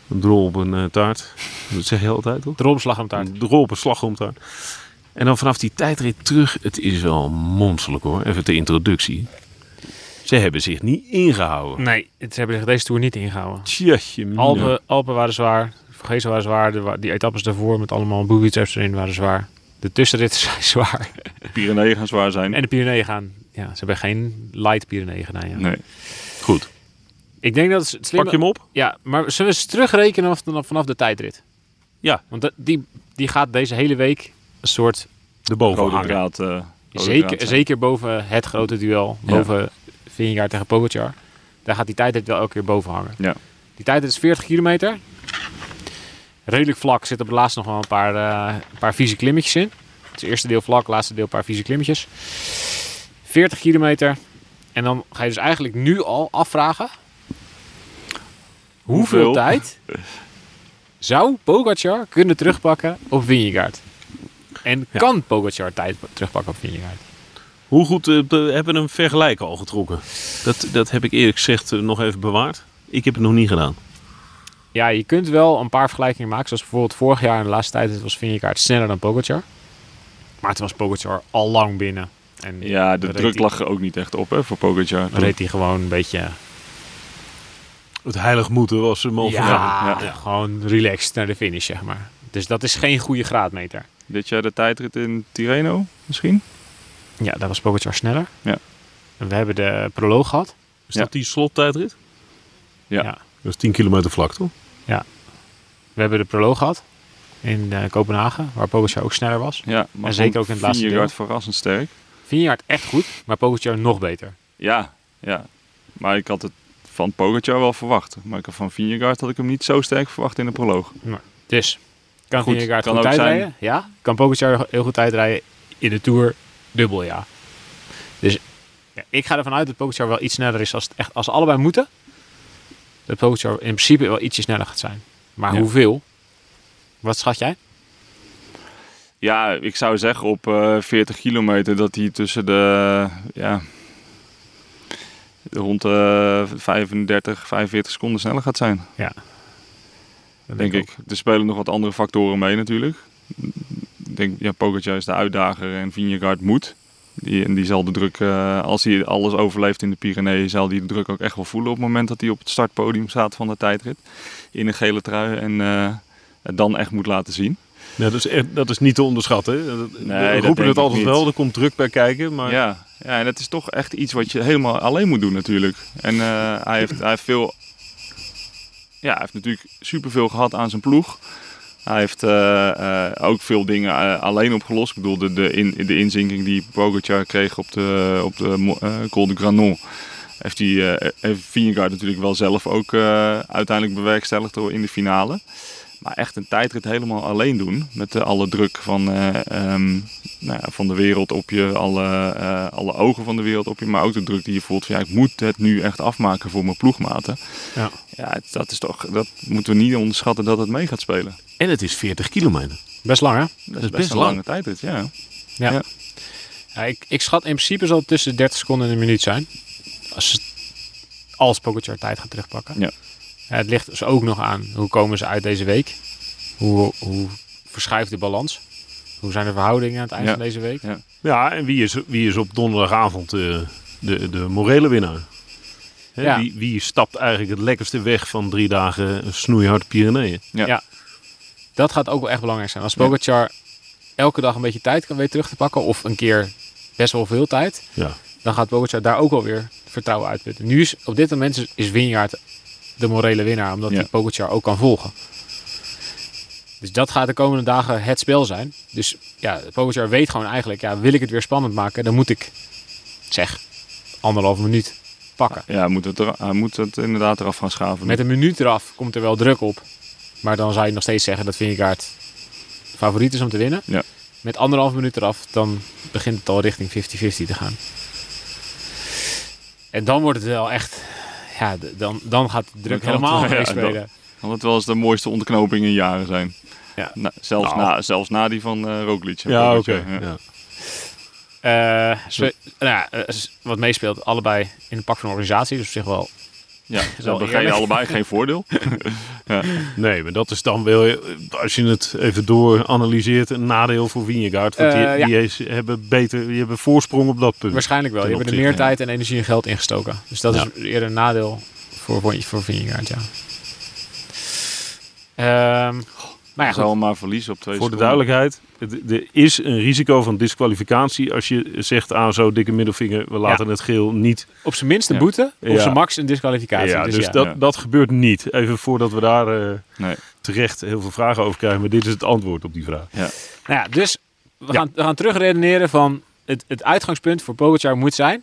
D: een drol op een eh, taart. Dat zeg je altijd, toch?
C: De rolbeslag aan taart.
D: Een drol op een slagroomtaart. En dan vanaf die tijdrit terug. Het is wel monsterlijk hoor. Even de introductie. Ze hebben zich niet ingehouden.
C: Nee, het hebben zich deze toer niet ingehouden.
D: Tjeetje, mina.
C: Alpen, Alpen waren zwaar. Vergezen waren zwaar. De, wa- die etappes daarvoor met allemaal booby-traps erin waren zwaar. De tussenritten zijn zwaar.
B: Pyreneeën gaan zwaar zijn.
C: En de Pyreneeën gaan. Ja, ze hebben geen light Pyreneeën gedaan. Ja.
B: Nee.
D: Goed,
C: Ik denk dat het slim
D: pak je hem op?
C: Ja, maar zullen we eens terugrekenen vanaf, vanaf de tijdrit?
D: Ja.
C: Want dat- die, die gaat deze hele week een soort...
D: De boven
B: Rode
D: hangen.
B: draad. eh, rode draad
C: Zeker,
B: zijn.
C: zeker boven het grote duel.
B: Ja.
C: Boven Vingegaard tegen Pogacar. Daar gaat die tijdrit wel elke keer boven hangen.
B: Ja.
C: Die tijdrit is 40 kilometer. Redelijk vlak. Zit op het laatst nog wel een paar, eh, een paar vieze klimmetjes in. Het is eerste deel vlak, laatste deel een paar vieze klimmetjes. 40 kilometer. En dan ga je dus eigenlijk nu al afvragen... Hoeveel,
B: Hoeveel?
C: tijd zou Pogacar kunnen terugpakken op Vingegaard? En kan Pogacar tijd terugpakken op Vingegaard?
D: Hoe goed eh, be- hebben we een vergelijk al getrokken? Dat, dat heb ik eerlijk gezegd eh, nog even bewaard. Ik heb het nog niet gedaan.
C: Ja, je kunt wel een paar vergelijkingen maken. Zoals bijvoorbeeld vorig jaar in de laatste tijd was Vingegaard sneller dan Pogacar. Maar toen was Pogacar al lang binnen. En
B: Ja, de
C: reed
B: druk
C: hij-
B: lag er ook niet echt op hè, voor Pogacar.
C: dan reed hij gewoon een beetje
D: Het heilig moeten was eh, hem al
C: ja,
D: vandaag.
B: ja.
C: gewoon relaxed naar de finish, zeg maar. Dus dat is geen goede graadmeter.
B: Dit jaar de tijdrit in Tirreno misschien?
C: Ja, daar was Pogacar sneller.
B: Ja.
C: En we hebben de proloog gehad.
D: Is
B: Ja.
D: dat die slottijdrit?
B: Ja.
C: Ja.
D: Dat is 10 kilometer vlak, toch?
C: We hebben de proloog gehad in eh, Kopenhagen, waar Pogacar ook sneller was.
B: Ja, maar
C: En zeker ook in het laatste
B: Vingegaard verrassend sterk.
C: Vingegaard echt goed, maar Pogacar nog beter.
B: Ja, ja. Maar ik had het van Pogacar wel verwacht. Maar ik had van Vingegaard had ik hem niet zo sterk verwacht in de proloog.
C: Dus kan
B: Goed,
C: Vingegaard
B: kan
C: goed
B: ook zijn-
C: tijdrijden? Ja. Kan Pogacar heel goed tijdrijden in de Tour? Dubbel ja. Dus ja, ik ga ervan uit dat Pogacar wel iets sneller is als, het echt, als ze allebei moeten. Dat Pogacar in principe wel ietsje sneller gaat zijn. Maar
B: Ja.
C: hoeveel? Wat schat jij?
B: Ja, ik zou zeggen op eh, 40 kilometer dat hij tussen de... Ja, rond de 35, 45 seconden sneller gaat zijn. denk ik. Er spelen nog wat andere factoren mee natuurlijk. Ik denk, ja, Pogacar is de uitdager en Vingegaard moet. Die, en die zal de druk, eh, als hij alles overleeft in de Pyreneeën, zal hij de druk ook echt wel voelen op het moment dat hij op het startpodium staat van de tijdrit. In een gele trui en eh, het dan echt moet laten zien.
D: Ja, dat, is echt- dat is niet te onderschatten. hè. Dat- we
B: Nee, dat
D: roepen
B: denk
D: het
B: ik
D: altijd
B: niet.
D: wel, er komt druk bij kijken. Maar
B: Ja, ja, en dat is toch echt iets wat je helemaal alleen moet doen natuurlijk. En eh, hij, heeft, hij heeft veel... Ja, hij heeft natuurlijk superveel gehad aan zijn ploeg. Hij heeft eh, eh, ook veel dingen eh, alleen opgelost. Ik bedoel, de, de, in, de inzinking die Pogacar kreeg op de, op de Mo- eh, Col de Granon... heeft, die, eh, heeft Vingegaard natuurlijk wel zelf ook eh, uiteindelijk bewerkstelligd door in de finale. Maar echt een tijdrit helemaal alleen doen. Met eh, alle druk van, eh, ehm, nou ja, van de wereld op je, alle, eh, alle ogen van de wereld op je, maar ook de druk die je voelt van ja, ik moet het nu echt afmaken voor mijn ploegmaten.
C: Ja.
B: Ja, het- dat is toch, dat moeten we niet onderschatten dat het mee gaat spelen.
D: En het is 40 kilometer.
C: Best lang hè?
B: Dat, is
D: is
B: best,
D: best
B: een
D: lang.
B: lange tijdrit, ja.
C: Ja.
B: Ja.
C: Ja, ik, ik schat in principe zal het tussen de 30 seconden en een minuut zijn. Als, ze- als Pogacar tijd gaat terugpakken.
B: Ja.
C: Ja, het ligt dus ook nog aan hoe komen ze uit deze week. Hoe, hoe verschuift de balans? Hoe zijn de verhoudingen aan het eind
B: Ja.
C: van deze week?
B: Ja.
D: Ja, en wie is, wie is op donderdagavond eh, de, de morele winnaar? Hè,
C: Ja.
D: wie, wie stapt eigenlijk het lekkerste weg van drie dagen snoeihard Pyreneeën?
B: Ja.
C: Ja. Dat gaat ook wel echt belangrijk zijn. Als Pogacar elke dag een beetje tijd kan weer terug te pakken. Of een keer best wel veel tijd.
D: Ja.
C: dan gaat Pogacar daar ook wel weer vertrouwen uitputten. Nu is op dit moment is- is Winjaard de morele winnaar, omdat
B: Ja.
C: hij Pogacar ook kan volgen. Dus dat gaat de komende dagen het spel zijn. Dus ja, Pogacar weet gewoon eigenlijk, ja, wil ik het weer spannend maken, dan moet ik, zeg, anderhalf minuut pakken.
B: Ja, hij moet het, er- hij moet het inderdaad eraf gaan schaven.
C: Met een minuut eraf komt er wel druk op. Maar dan zou je nog steeds zeggen dat Vingegaard favoriet is om te winnen.
B: Ja.
C: Met anderhalf minuut eraf, dan begint het al richting 50-50 te gaan. En dan wordt het wel echt... Ja, d- dan, dan gaat de druk
B: Dan kan
C: helemaal
B: het- ja,
C: meespelen.
B: Kan het wel eens de mooiste ontknoping in jaren zijn.
C: Ja.
B: Na- zelfs,
C: Nou.
B: na, zelfs na die van eh Roglic. hè,
D: Ja, oké.
B: Pogacar. Ja.
D: Ja.
C: Eh, spe- nou ja, eh, s- wat meespeelt, allebei in het pak van een organisatie. Dus op zich wel...
B: Ja, ze
C: Wel
B: hebben geen,
C: eerlijk.
B: allebei geen voordeel.
D: Nee, maar dat is dan wel, eh, als je het even door analyseert, een nadeel voor Wienergaard. Want
C: Eh,
D: die,
C: ja.
D: die is- hebben beter, die hebben voorsprong op dat punt.
C: Waarschijnlijk wel.
D: Ten
C: Die hebben er meer
D: opzichte,
C: tijd en energie en geld ingestoken. Dus dat
D: Ja.
C: is eerder een nadeel voor, voor, voor Vingegaard, ja. Ehm maar ja,
B: Ze wel
C: goed.
B: maar verliezen op twee
D: Voor de
B: seconden.
D: duidelijkheid, het- er is een risico van disqualificatie als je zegt aan zo'n dikke middelvinger, we laten het geel niet.
C: op zijn minst een
B: Ja.
C: boete, op
D: Ja.
C: zijn max een disqualificatie.
D: ja,
C: dus
D: dus
C: ja.
D: Dat,
B: Ja.
D: dat gebeurt niet. Even voordat we daar eh,
B: Nee.
D: terecht heel veel vragen over krijgen, maar dit is het antwoord op die vraag.
C: Nou ja, dus we, gaan, we gaan terugredeneren van het, het uitgangspunt voor Pogacar moet zijn...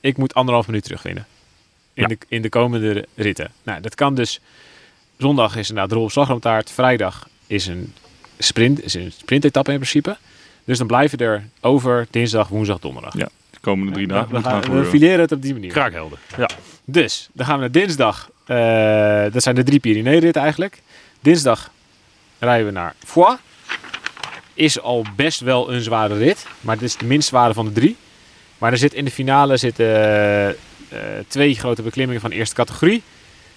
C: ik moet anderhalf minuut terugwinnen in,
D: Ja.
C: de, in de komende ritten. Nou, dat kan dus... Zondag is inderdaad rol op slagroomtaart. Vrijdag is een sprint, is een sprintetappe in principe. Dus dan blijven er over dinsdag, woensdag, donderdag.
B: Ja, de komende drie dagen
C: we,
B: moet gaan
C: gaan, we
B: gebeuren.
C: fileren het op die manier.
D: Kraakhelder. Ja.
C: Dus, dan gaan we naar dinsdag. Eh, dat zijn de drie Pyrenee-ritten eigenlijk. Dinsdag rijden we naar Foix. Is al best wel een zware rit. Maar dit is de minst zware van de drie. Maar er zit in de finale zitten eh, twee grote beklimmingen van eerste categorie.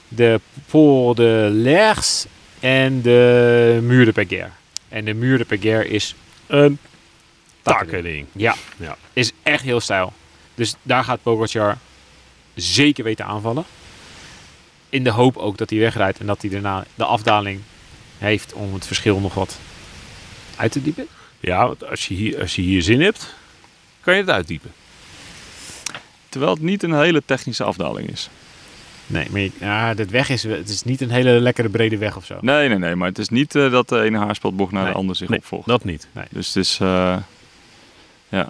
C: De Pol de Lers en de Muur de Peguerre. En de Muur de Peguerre is...
D: Een
C: Takkering.
D: takkering.
C: Ja,
D: Ja.
C: is echt heel stijl. Dus daar gaat Pogacar zeker weten aanvallen. In de hoop ook dat hij wegrijdt en dat hij daarna de afdaling heeft om het verschil nog wat uit te diepen.
D: Ja, want als je, hier, als je hier zin hebt, kan je het uitdiepen.
B: Terwijl het niet een hele technische afdaling is.
C: Nee, maar je- ja, dat weg is, het is niet een hele lekkere brede weg of zo.
B: Nee, nee, nee. Maar het is niet eh, dat de ene haarspelbocht naar
C: Nee.
B: de ander zich
D: Nee,
B: opvolgt.
D: dat niet.
B: Dus het is... eh, ja.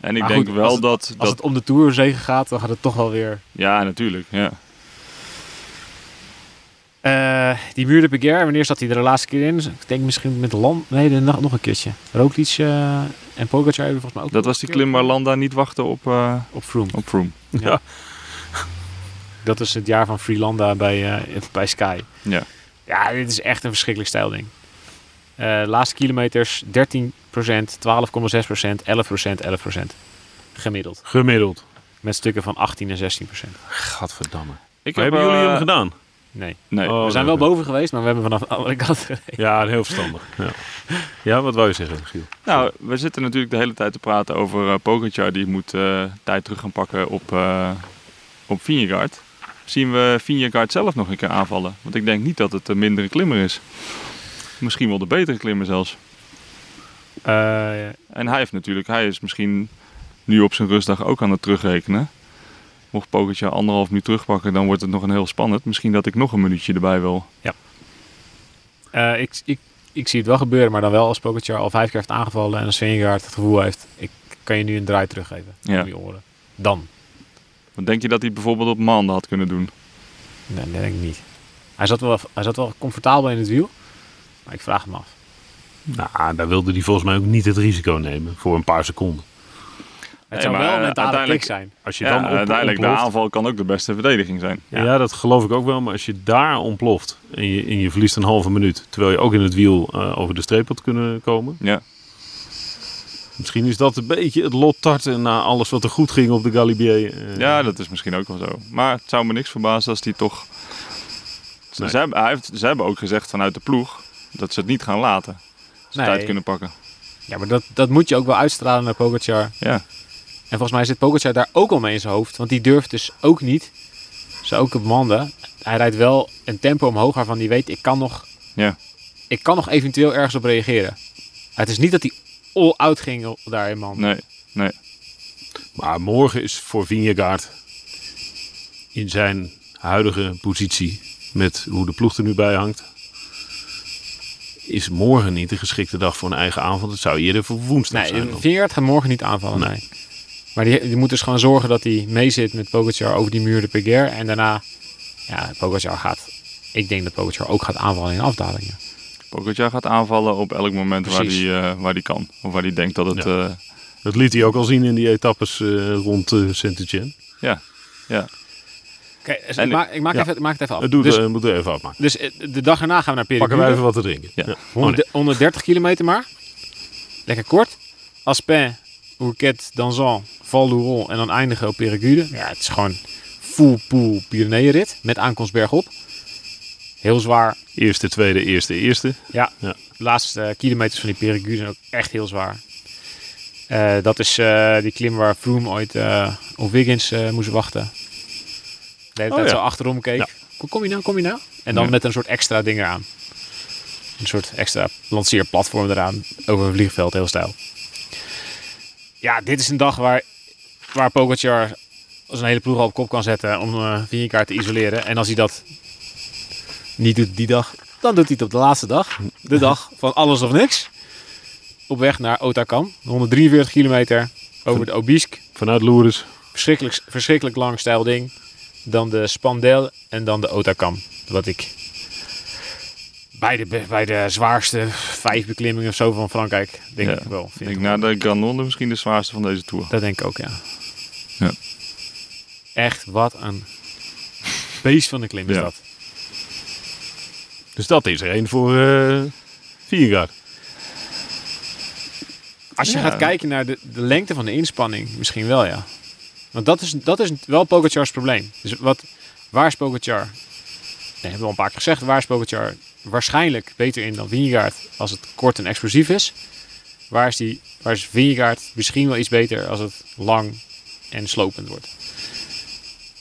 B: En ik
C: Maar
B: denk
C: goed,
B: wel
C: als het-
B: dat...
C: Als
B: dat
C: het om de Tour zegen gaat, dan gaat het toch wel weer...
B: Ja, natuurlijk. Ja.
C: Eh, die Muur de Peguerre, wanneer zat hij er de laatste keer in? Dus ik denk misschien met Land... Nee, de nacht nog een keertje. Roglic eh, en Pogacar hebben volgens mij ook...
B: Dat was die klim waar Landa niet wachtte op, eh
C: Op Froome.
B: op Froome.
D: Ja.
C: Dat is het jaar van Freelanda bij, eh, bij Sky.
B: Ja.
C: Ja, dit is echt een verschrikkelijk stijlding. Eh laatste kilometers 13%, 12,6%, 11%, 11%. Gemiddeld.
D: Gemiddeld.
C: Met stukken van 18 en 16%.
D: Gadverdamme.
B: Ik
D: Maar hebben
B: eh,
D: jullie hem gedaan?
C: Nee.
B: Nee.
D: Oh,
C: we zijn
D: nee,
C: wel
D: nee.
C: boven geweest, maar we hebben vanaf oh, de andere kant gereden.
D: Ja, heel verstandig. Ja. ja, wat wou je zeggen, Giel?
B: Nou, we zitten natuurlijk de hele tijd te praten over eh, Pogacar. Die moet eh, tijd terug gaan pakken op, eh op Vingegaard. Zien we Vingegaard zelf nog een keer aanvallen? Want ik denk niet dat het een mindere klimmer is. Misschien wel de betere klimmer zelfs.
C: Eh,
B: En hij heeft natuurlijk... Hij is misschien nu op zijn rustdag ook aan het terugrekenen. Mocht Pogacar anderhalf minuut terugpakken, dan wordt het nog een heel spannend. Misschien dat ik nog een minuutje erbij wil.
C: eh, ik, ik, ik zie het wel gebeuren, maar dan wel als Pogacar al vijf keer heeft aangevallen... en als Vingegaard het gevoel heeft, ik kan je nu een draai teruggeven.
B: Ja.
C: Om je oren. Dan.
B: Want denk je dat hij het bijvoorbeeld op maanden had kunnen doen?
C: Nee, dat denk ik niet. Hij zat, wel, hij zat wel comfortabel in het wiel, maar ik vraag hem af.
D: Nou, daar wilde hij volgens mij ook niet het risico nemen voor een paar seconden.
C: Het
B: Nee,
C: zou
B: maar,
C: wel een
B: eh,
C: mentale
B: uiteindelijk-
C: klik zijn.
D: Als je
B: Ja,
D: dan op,
B: uiteindelijk, de
D: ontploft-
B: aanval kan ook de beste verdediging zijn.
D: Ja. dat geloof ik ook wel. Maar als je daar ontploft en je, en je verliest een halve minuut... terwijl je ook in het wiel eh, over de streep had kunnen komen...
B: Ja.
D: misschien is dat een beetje het lot tarten... na alles wat er goed ging op de Galibier. eh.
B: Ja, dat is misschien ook wel zo. Maar het zou me niks verbazen als die toch. Ze,
D: Nee.
B: ze hebben, hij heeft, ze hebben ook gezegd vanuit de ploeg dat ze het niet gaan laten. Dat Ze
C: Nee.
B: tijd kunnen pakken.
C: Ja, maar dat, dat moet je ook wel uitstralen naar Pogacar. En
B: Ja.
C: volgens mij zit Pogacar daar ook al mee in zijn hoofd. Want die durft dus ook niet, ze ook op manden. Hij rijdt wel een tempo omhoog waarvan hij weet, ik kan nog,
B: Ja.
C: ik kan nog eventueel ergens op reageren. Het is niet dat hij all-out ging daar in manden.
B: Nee.
D: Maar morgen is voor Vingegaard in zijn huidige positie... met hoe de ploeg er nu bij hangt... is morgen niet de geschikte dag voor een eigen aanval. Dat zou eerder voor woensdag
C: Nee, eh,
D: zijn. dan.
C: Vingegaard gaat morgen niet aanvallen. Nee. Maar die, die moet dus gewoon zorgen dat hij mee zit met Pogacar over die muur de Peguer. En daarna, ja, Pogacar gaat... Ik denk dat Pogacar ook gaat aanvallen in afdalingen.
B: Pogacar gaat aanvallen op elk moment waar
C: Precies.
B: hij, eh, waar hij kan. Of waar hij denkt dat het... eh,
D: Dat liet hij ook al zien in die etappes eh, rond eh Saint-Etienne.
B: ja, ja.
C: Oké, dus
B: En-
C: ik, maak, ik, maak
D: ja.
C: even, ik maak het even af.
D: Dat doet,
C: dus,
D: eh, moeten we even afmaken.
C: dus eh, de dag erna gaan we naar
D: Pakken wij
C: Périgueux.
D: even oh, wat te drinken.
B: Ja.
C: Honderd- 130 kilometer maar. Lekker kort. Aspen, Hourquette, Danzan, Val d'Huron en dan eindigen op Périgueux. Ja, het is gewoon full pool Pyreneeënrit met aankomst bergop. Heel zwaar.
D: Eerste, tweede, eerste, eerste.
C: Ja,
D: Ja.
C: de laatste eh, kilometers van die Périgueux zijn ook echt heel zwaar. Eh, dat is eh, die klim waar Froome ooit eh, op Wiggins eh, moest wachten. De hele
D: Oh,
C: tijd
D: ja.
C: zo achterom keek.
D: Ja.
C: Kom, kom je nou, kom je nou? En dan
B: Ja.
C: met een soort extra ding eraan. Een soort extra lanceerplatform eraan over een vliegveld, heel stijl. Ja, dit is een dag waar, waar Pogacar als een hele ploeg al op kop kan zetten om eh Vingegaard te isoleren. En als hij dat niet doet die dag, dan doet hij het op de laatste dag. De dag van alles of niks. Op weg naar Otakam. 143 kilometer over de Obisk.
D: Vanuit Lourdes.
C: Verschrikkelijk, verschrikkelijk lang stijl ding. Dan de Spandel en dan de Otakam. Wat ik bij de, be- bij de zwaarste vijf beklimmingen of zo van Frankrijk denk
B: Ja.
C: ik wel.
B: Ik
C: vind.
B: denk na de Granonde misschien de zwaarste van deze Tour.
C: Dat denk ik ook, ja.
B: Ja.
C: Echt, wat een beest van de klim is
B: Ja.
C: dat.
D: Dus dat is er één voor eh Viergaard.
C: Als je
B: Ja.
C: gaat kijken naar de, de lengte van de inspanning, misschien wel ja. Want dat is, dat is wel Pogacar's probleem. Dus wat, waar is Pogacar? Nee, hebben we al een paar keer gezegd. Waar is Pogacar waarschijnlijk beter in dan Vingegaard als het kort en explosief is? Waar is, die, waar is Vingegaard misschien wel iets beter als het lang en slopend wordt?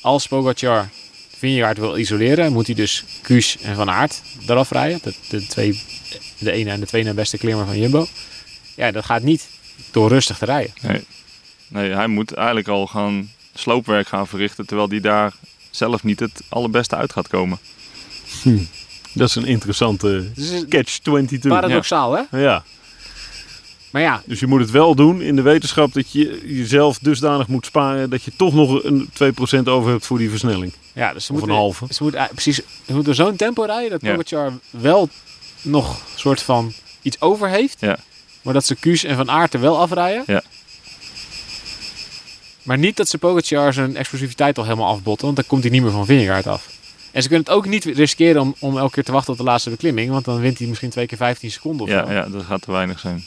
C: Als Pogacar Vingegaard wil isoleren, moet hij dus Kuus en Van Aert eraf rijden. De, de, twee, de ene en de tweede beste klimmer van Jumbo. Ja, dat gaat niet door rustig te rijden.
B: Nee. nee, hij moet eigenlijk al gaan sloopwerk gaan verrichten... terwijl hij daar zelf niet het allerbeste uit gaat komen.
D: Dat is een interessante
C: Dus het is
D: catch 22.
C: paradoxaal, hè?
D: Ja.
C: Maar ja,
D: Dus je moet het wel doen in de wetenschap dat je jezelf dusdanig moet sparen dat je toch nog een 2% over hebt voor die versnelling.
C: ja dus ze
D: Of
C: moeten,
D: een halve.
C: Ze moeten, eh, precies, ze moeten zo'n tempo rijden dat
B: Ja.
C: Pogacar wel nog soort van iets over heeft.
B: Ja.
C: Maar dat ze Kuus en Van Aert er wel afrijden.
B: Ja.
C: Maar niet dat ze Pogacar zijn explosiviteit al helemaal afbotten. Want dan komt hij niet meer van Vingegaard af. En ze kunnen het ook niet riskeren om, om elke keer te wachten op de laatste beklimming. Want dan wint hij misschien twee keer 15 seconden of
B: Ja,
C: zo.
B: ja, dat gaat te weinig zijn.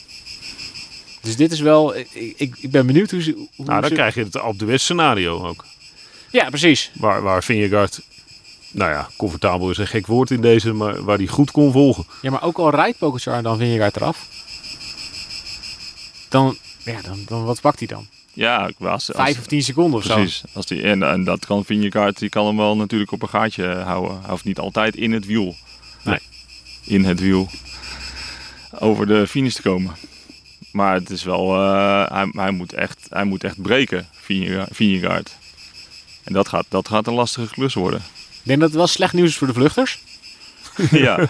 C: Dus dit is wel... Ik, ik, ik ben benieuwd hoe ze... Hoe
D: Nou, dan
C: ze-
D: krijg je het op de West scenario ook.
C: Ja, precies.
D: Waar, waar Vingegaard, nou ja, comfortabel is een gek woord in deze, maar waar hij goed kon volgen.
C: Ja, maar ook al rijdt Pogacar dan Vingegaard eraf. Dan, ja, dan, dan wat pakt hij dan?
B: Ja, ik was...
C: Vijf of tien seconden of zo.
B: Precies. Als die, en, en dat kan Vinjekaart, die kan hem wel natuurlijk op een gaatje eh, houden. Hij hoeft niet altijd in het wiel.
D: Nee.
B: In het wiel. Over de finish te komen. Maar het is wel, eh, hij, hij, moet echt, hij moet echt breken, Vinjega- Vingegaard. En dat gaat, dat gaat een lastige klus worden.
C: Ik denk dat het wel slecht nieuws is voor de vluchters.
B: ja.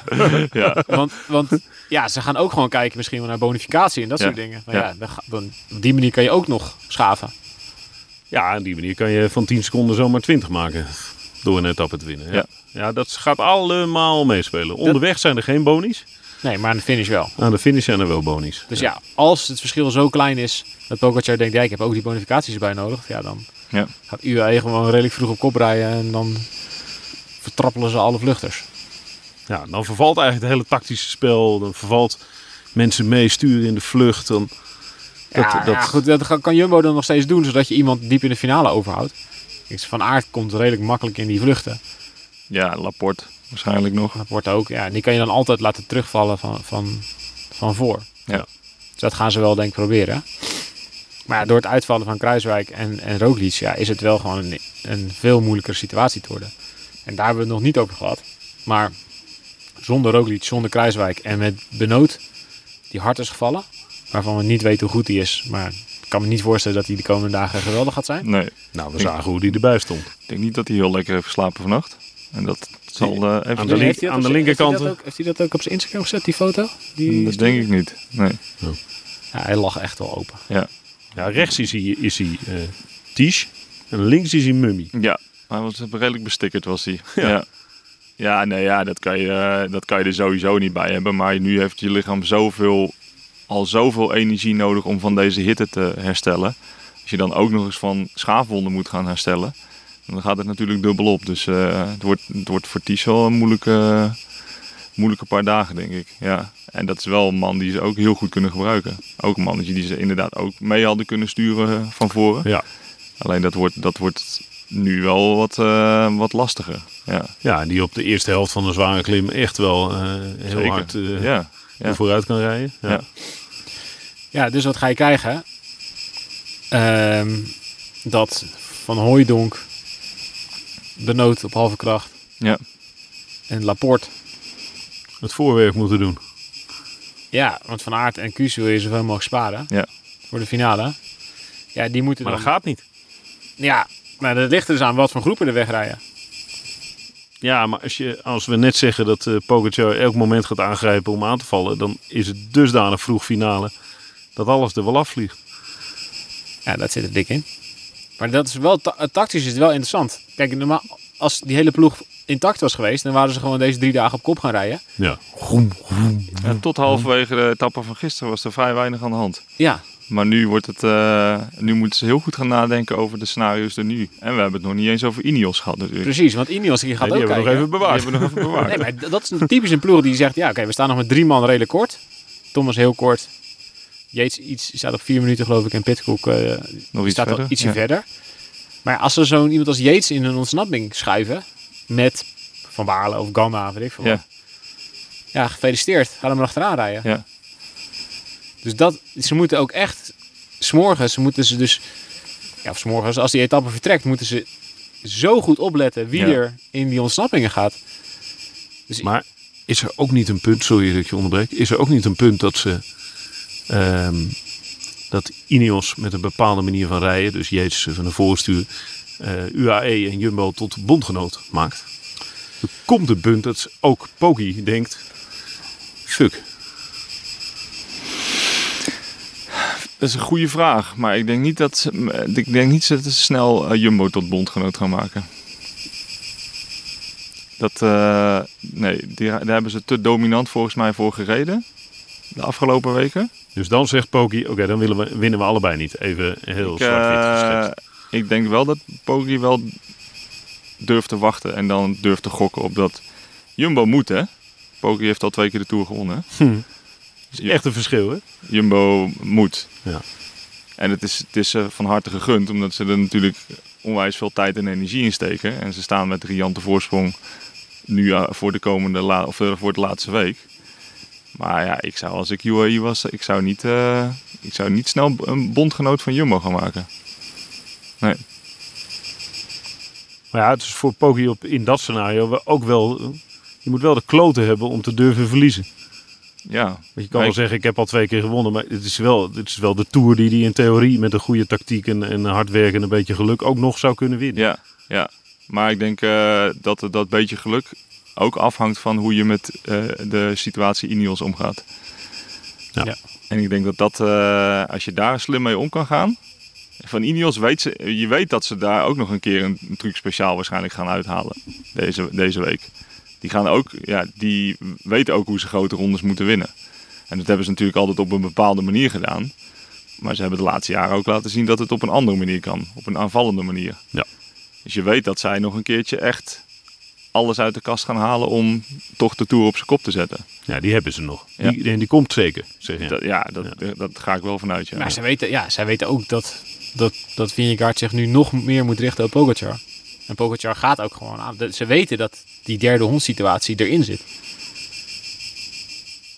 B: ja.
C: Want, want ja, ze gaan ook gewoon kijken misschien wel naar bonificatie en dat
B: Ja.
C: soort dingen. Maar
B: Ja.
C: ja, dan, ga- dan, op die manier kan je ook nog schaven.
D: Ja, op die manier kan je van 10 seconden zomaar 20 maken door een etappe te winnen. Ja, ja.
B: Ja.
D: dat gaat allemaal meespelen. Onderweg zijn er geen bonies,
C: Nee, maar aan de finish wel.
D: aan de finish zijn er wel bonies.
C: Dus ja, als het verschil zo klein is dat Pogacar denkt, ja, ik heb ook die bonificaties erbij nodig. Ja, dan
B: Ja.
C: gaat UAE gewoon redelijk vroeg op kop rijden en dan vertrappelen ze alle vluchters.
D: Ja, dan vervalt eigenlijk het hele tactische spel. Dan vervalt mensen meesturen in de vlucht. Dan, dat,
C: ja,
D: dat,
C: ja, goed, dat ga- kan Jumbo dan nog steeds doen, zodat je iemand diep in de finale overhoudt. Kijk, Van Aert komt redelijk makkelijk in die vluchten.
B: ja, Laporte waarschijnlijk nog.
C: Dat wordt ook, ja, en die kan je dan altijd laten terugvallen van, van, van voor.
B: Ja.
C: Dus dat gaan ze wel denk ik proberen. Maar ja, door het uitvallen van Kruiswijk en, en Roglic ja, is het wel gewoon een, een veel moeilijkere situatie te worden. En daar hebben we het nog niet over gehad. Maar zonder Roglic, zonder Kruiswijk en met Benoot, die hard is gevallen. Waarvan we niet weten hoe goed hij is. Maar ik kan me niet voorstellen dat hij de komende dagen geweldig gaat zijn.
B: Nee,
D: Nou, we zagen hoe die erbij stond.
B: ik denk niet dat hij heel lekker heeft geslapen vannacht. En dat zal eh, even
D: Aan de link-
C: Heeft
D: aan
C: hij dat
D: de
C: op zijn-
D: linkerkant. Mm.
C: Heeft hij, dat ook, heeft hij dat ook op zijn Instagram gezet, die foto? Die,
B: Dat denk ik niet. Nee.
C: Ja, hij lag echt wel open.
D: Ja, rechts is hij, is hij eh, Tiche en links is hij Mummy.
B: Ja, hij was redelijk bestikkerd was hij. Ja. ja. nee, ja, dat kan, je, eh, dat kan je er sowieso niet bij hebben. Maar nu heeft je lichaam zoveel, al zoveel energie nodig om van deze hitte te herstellen. Als je dan ook nog eens van schaafwonden moet gaan herstellen, dan gaat het natuurlijk dubbel op. Dus eh, het, wordt, het wordt voor Ties wel een moeilijke, moeilijke paar dagen, denk ik. Ja. En dat is wel een man die ze ook heel goed kunnen gebruiken. Ook een mannetje die ze inderdaad ook mee hadden kunnen sturen eh, van voren.
D: Ja.
B: Alleen dat wordt, dat wordt nu wel wat, eh, wat lastiger. Ja,
D: Ja, en die op de eerste helft van een zware klim echt wel eh, heel
B: zeker.
D: hard eh,
B: ja. ja.
D: vooruit kan rijden. Ja.
B: Ja.
C: Ja, dus wat ga je krijgen? Ehm, dat Van Hooijdonk, Benoot op halve kracht
B: Ja.
C: en Laporte.
D: Het voorwerk moeten doen.
C: Ja, want Van Aert en Kuus wil je zoveel mogelijk sparen
B: Ja.
C: voor de finale. Ja, die moeten
D: Maar dat
C: dan...
D: gaat niet.
C: Ja, maar dat ligt er dus aan wat voor groepen er wegrijden.
D: Ja, maar als, je, als we net zeggen dat eh Pogacar elk moment gaat aangrijpen om aan te vallen, dan is het dusdanig vroeg finale dat alles er wel afvliegt.
C: Ja, dat zit er dik in. Maar dat is wel ta- eh, tactisch is het wel interessant. Kijk, normaal, als die hele ploeg intact was geweest, dan waren ze gewoon deze drie dagen op kop gaan rijden.
D: Ja.
B: En tot halverwege de etappe van gisteren was er vrij weinig aan de hand.
C: Ja,
B: Maar nu, wordt het, eh, nu moeten ze heel goed gaan nadenken over de scenario's er nu. En we hebben het nog niet eens over Ineos gehad natuurlijk.
C: precies. Want Ineos die gaat
D: Nee, die
C: ook
D: hebben we Dus nog
C: kijken.
D: even bewaard.
B: Die hebben we nog even bewaard.
C: Nee, maar d- dat is een typisch een ploeg die zegt, ja oké, we staan nog met drie man redelijk kort. Thomas heel kort. Jeets iets, staat op vier minuten geloof ik en Pitcock eh,
B: nog iets
C: staat
B: verder.
C: al ietsje
B: Ja.
C: verder. Maar als ze zo'n iemand als Jeets in een ontsnapping schuiven met Van Baalen of Gamma, weet ik veel
B: Ja.
C: wat. Ja, gefeliciteerd. Ga er maar achteraan rijden.
B: Ja.
C: Dus dat, ze moeten ook echt, smorgens moeten ze dus, ja, of 's morgens als die etappe vertrekt, moeten ze zo goed opletten wie
B: Ja.
C: er in die ontsnappingen gaat. Dus
D: Maar is er ook niet een punt, sorry dat ik je onderbreek, is er ook niet een punt dat ze ehm, dat Ineos met een bepaalde manier van rijden, dus Jezus van de voorstuur, eh, UAE en Jumbo tot bondgenoot maakt? Er komt een punt dat ze- ook Poggi denkt, fuck,
B: Dat is een goede vraag. Maar ik denk niet dat ze, ik denk niet dat ze snel eh, Jumbo tot bondgenoot gaan maken. Dat, eh, nee, die, daar hebben ze te dominant volgens mij voor gereden. De afgelopen weken.
D: Dus dan zegt Poki, oké, dan willen we, winnen we allebei niet. Even heel
B: Ik, eh,
D: zwart-wit geschetst.
B: ik denk wel dat Poggi wel durft te wachten en dan durft te gokken op dat Jumbo moet, hè? Poggi heeft al twee keer de Tour gewonnen. Dus
D: Is Echt een verschil, hè?
B: Jumbo moet.
D: Ja.
B: En het is, het is ze van harte gegund, omdat ze er natuurlijk onwijs veel tijd en energie in steken. En ze staan met riante voorsprong nu eh, voor de komende la- of eh, voor de laatste week. Maar ja, ik zou als ik UAE was, ik zou niet, eh, ik zou niet snel een bondgenoot van Jumbo gaan maken. Nee.
D: Maar ja, het is voor Poki op, in dat scenario wel- ook wel... eh, Je moet wel de kloten hebben om te durven verliezen.
B: Ja,
D: Want je kan
B: Nee.
D: wel zeggen, ik heb al twee keer gewonnen. Maar het is wel, het is wel de Tour die hij in theorie met een goede tactiek en, en hard werken en een beetje geluk ook nog zou kunnen winnen.
B: ja, ja. Maar ik denk eh, dat dat beetje geluk ook afhangt van hoe je met eh, de situatie Ineos omgaat.
D: Ja.
C: Ja.
B: En ik denk dat dat, eh, als je daar slim mee om kan gaan. Van Ineos weet ze, je weet dat ze daar ook nog een keer een, een truc speciaal waarschijnlijk gaan uithalen. Deze, deze week. Die gaan ook, ja, die weten ook hoe ze grote rondes moeten winnen. En dat hebben ze natuurlijk altijd op een bepaalde manier gedaan. Maar ze hebben de laatste jaren ook laten zien dat het op een andere manier kan. Op een aanvallende manier.
D: Ja.
B: Dus je weet dat zij nog een keertje echt alles uit de kast gaan halen om toch de Tour op zijn kop te zetten.
D: Ja, die hebben ze nog.
B: Ja.
D: Die, en die komt zeker, zeg je.
B: Ja, dat, ja, dat, dat ga ik wel vanuit. Ja.
C: Maar zij weten, ja, zij weten ook dat, dat, dat Vingegaard zich nu nog meer moet richten op Pogacar. En Pogacar gaat ook gewoon aan. De- Ze weten dat die derde hondsituatie erin zit.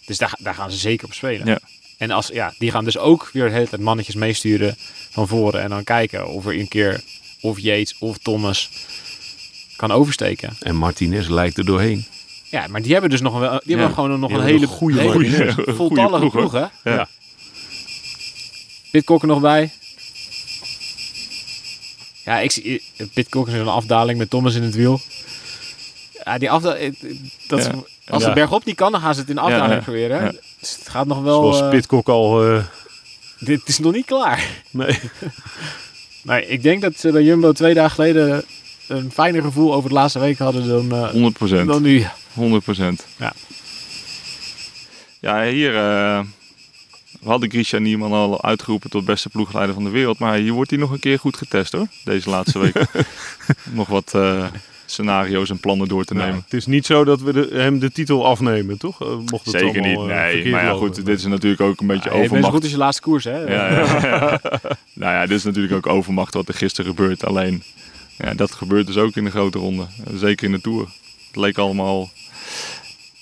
C: Dus daar, daar gaan ze zeker op spelen.
B: Ja.
C: En als, ja, die gaan dus ook weer de hele tijd mannetjes meesturen van voren. En dan kijken of er een keer of Yates of Thomas kan oversteken.
D: En Martinez lijkt er doorheen.
C: Ja, maar die hebben dus nog wel, die hebben gewoon nog
D: Die
C: een
D: hebben
C: hele
D: een goede
C: hele
D: Martinez.
C: voltallige
B: Goeie ploeg,
C: ploeg, hè?
D: Ja.
C: Pitcock er nog bij. Ja, ik zie Pitcock in een afdaling met Thomas in het wiel. Ja, die afda- ik- dat,
B: Ja.
C: Als
D: Ja.
C: de berg op niet kan, dan gaan ze het in de afdaling
B: Ja, ja.
C: proberen.
B: Ja.
C: Dus het gaat nog wel...
D: Zoals
C: eh,
D: Pitcock al... eh,
C: dit is nog niet klaar.
D: nee.
C: Nee, ik denk dat ze bij Jumbo twee dagen geleden een fijner gevoel over de laatste week hadden dan, eh,
B: 100 procent.
C: dan nu.
B: 100 procent.
C: Ja.
B: Ja, hier... eh we hadden Grisha Niemann al uitgeroepen tot beste ploegleider van de wereld. Maar hier wordt hij nog een keer goed getest hoor. Deze laatste week. Om nog wat eh, scenario's en plannen door te
D: Nou,
B: nemen.
D: het is niet zo dat we de- hem de titel afnemen, toch? Eh, Mocht het
B: Zeker
D: allemaal,
B: niet.
D: eh,
B: Nee,
D: verkeerd
B: maar ja,
D: lopen.
B: goed. Dit is natuurlijk ook een beetje
C: Ja, je bent zo
B: overmacht.
C: goed als je laatste koers, hè?
B: Ja, ja, ja. nou ja, dit is natuurlijk ook overmacht wat er gisteren gebeurt. Alleen, ja, dat gebeurt dus ook in de grote ronde. Zeker in de Tour. Het leek allemaal,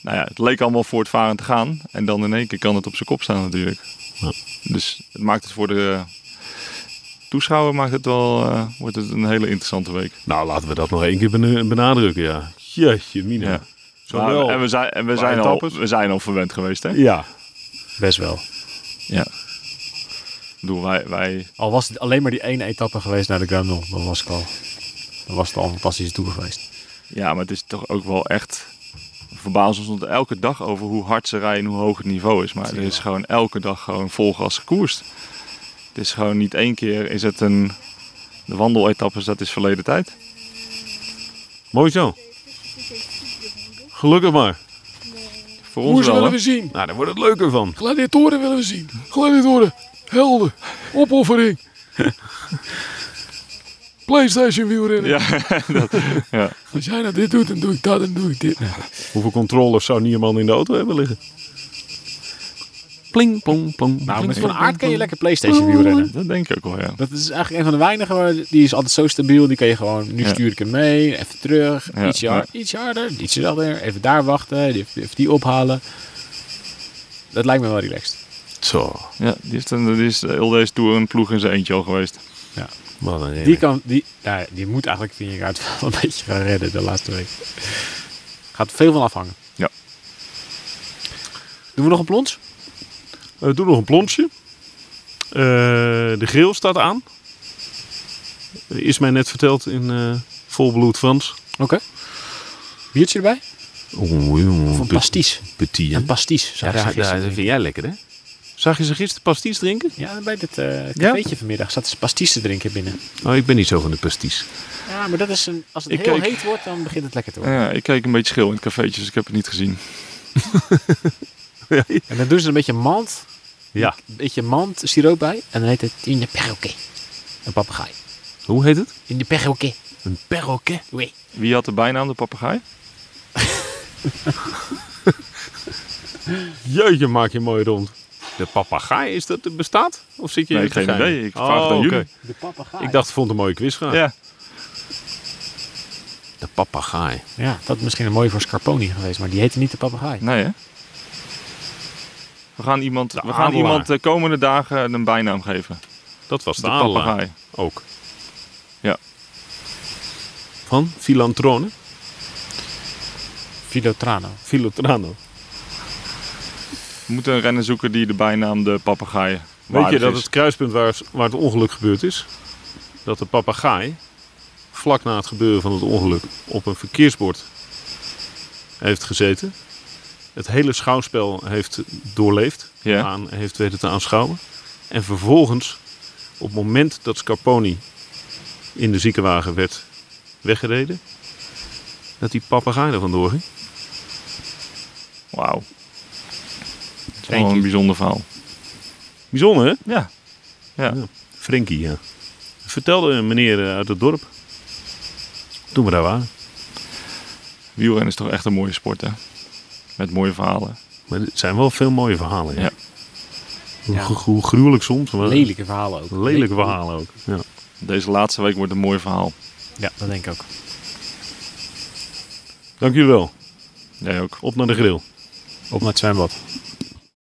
B: nou ja, het leek allemaal voortvarend te gaan. En dan in één keer kan het op zijn kop staan natuurlijk.
D: Ja.
B: Dus het maakt het voor de toeschouwer maakt het wel, eh, wordt het een hele interessante week.
D: Nou, laten we dat nog één keer benu- benadrukken, ja. Jeetje, mina.
B: Ja.
D: Zowel.
B: Nou, en we zijn, en we
D: Qua
B: zijn, al,
D: etappes?
B: we zijn al verwend geweest, hè?
D: Ja.
C: Best wel.
B: Ja. Ik bedoel, wij, wij,
C: Al was het alleen maar die ene etappe geweest naar de Grendel, dan was ik al... Dan was het al een fantastische tour geweest.
B: Ja, maar het is toch ook wel echt. we Verbazen ons elke dag over hoe hard ze rijden en hoe hoog het niveau is. Maar er is gewoon elke dag gewoon vol gas gekoerst. Het is gewoon niet één keer is het een. De wandeletappes, dat is verleden tijd.
D: Mooi zo. Gelukkig maar.
B: Voor ons wel. hè?
D: zien. Nou, daar wordt het leuker van.
C: Gladiatoren willen we zien.
D: Gladiatoren, helden, opoffering. PlayStation wielrennen.
B: Ja,
C: Als jij nou dit doet, dan doe ik dat en doe ik dit.
D: Hoeveel controllers zou niemand in de auto hebben liggen? Pling, plong, plong.
C: Nou,
D: pling,
C: met
D: plong,
C: Van
D: plong,
C: Aert kan je
D: plong.
C: lekker Playstation wielrennen.
B: dat denk ik ook wel, ja.
C: Dat is eigenlijk een van de weinigen, waar, die is altijd zo stabiel. Die kan je gewoon, nu
B: Ja.
C: stuur ik hem mee, even terug,
B: Ja,
C: ietsje, har- ietsje harder, ietsje harder, even daar wachten, die- even die ophalen. Dat lijkt me wel relaxed.
D: Zo,
B: ja die, heeft een, die is eh, heel deze tour een ploeg in zijn eentje al geweest.
D: wat een
C: Die,
D: heerlijk.
C: kan, die, nou ja, die moet eigenlijk Vingegaard wel een beetje gaan redden de laatste week. Gaat veel van afhangen.
B: Ja.
C: Doen we nog een plons?
D: Eh, doe nog een plonsje. Eh, de grill staat aan. Eh, Is mij net verteld in eh, volbloed Frans.
C: Oké. Biertje erbij?
D: Oeh,
C: Of een pasties?
D: Petit,
C: Een pasties.
D: Ja,
C: zei hij gisteren.
D: vind jij lekker, hè? Zag je ze gisteren pasties drinken?
C: Ja, bij dit eh cafeetje vanmiddag zaten ze pasties te drinken binnen.
D: Oh, ik ben niet zo van de pasties.
C: Ja, maar dat is een, als het
B: Ik
C: heel
B: keek-
C: heet wordt, dan begint het lekker te worden.
B: Ja, ik keek een beetje schil in het cafeetje, dus ik heb het niet gezien.
C: En dan doen ze een beetje mand,
D: Ja.
C: een beetje mand siroop bij. En dan heet het in de perroquet. Een papegaai.
D: Hoe heet het?
C: In de perroquet.
D: Een perroquet.
C: Oei.
B: Wie had de bijnaam, de papegaai?
D: Jeetje, maak je mooi rond. De papegaai, is dat er bestaat? Of zit je
B: Nee,
D: in te
B: geen
D: geinen?
B: idee. Ik vraag het aan
C: Oh,
D: oké.
B: jullie.
C: De papegaai.
D: Ik dacht, ik vond het een mooie quizvraag.
C: Ah.
B: Ja.
D: De papegaai.
C: Ja, dat is misschien een mooie voor Scarponi geweest, maar die heette niet de papegaai.
B: Nee, hè? We gaan iemand, we gaan
D: adelaar.
B: iemand de komende dagen een bijnaam geven.
D: Dat was de,
B: De
D: adelaar.
B: papegaai.
D: Ook.
B: Ja.
D: Van Filantrone.
C: Filotrano.
D: Filotrano.
B: We moeten een renner zoeken die de bijnaam de papegaai
D: Weet je
B: waardig
D: dat
B: is.
D: het kruispunt waar, waar het ongeluk gebeurd is? Dat de papegaai vlak na het gebeuren van het ongeluk op een verkeersbord heeft gezeten. Het hele schouwspel heeft doorleefd,
B: Ja.
D: aan, heeft weten te aanschouwen. En vervolgens, op het moment dat Scarponi in de ziekenwagen werd weggereden, dat die papegaai er vandoor ging.
B: Wauw. Dat is wel
C: Eentje.
B: een bijzonder verhaal.
D: Bijzonder, hè?
B: Ja. Ja.
D: Ja. Frenkie, ja. Vertelde een meneer eh, uit het dorp, toen we daar waren.
B: Wielrennen is toch echt een mooie sport, hè? Met mooie verhalen.
D: Maar het zijn wel veel mooie verhalen. Ja.
B: Ja.
D: Hoe,
C: Ja.
D: gru- hoe gruwelijk soms. Maar
C: Lelijke verhalen ook.
D: Lelijke verhalen ook. Ja.
B: Deze laatste week wordt een mooi verhaal.
C: Ja, dat denk ik ook.
D: Dank jullie wel.
B: Jij ook.
D: Op naar de grill.
C: Op naar het zwembad.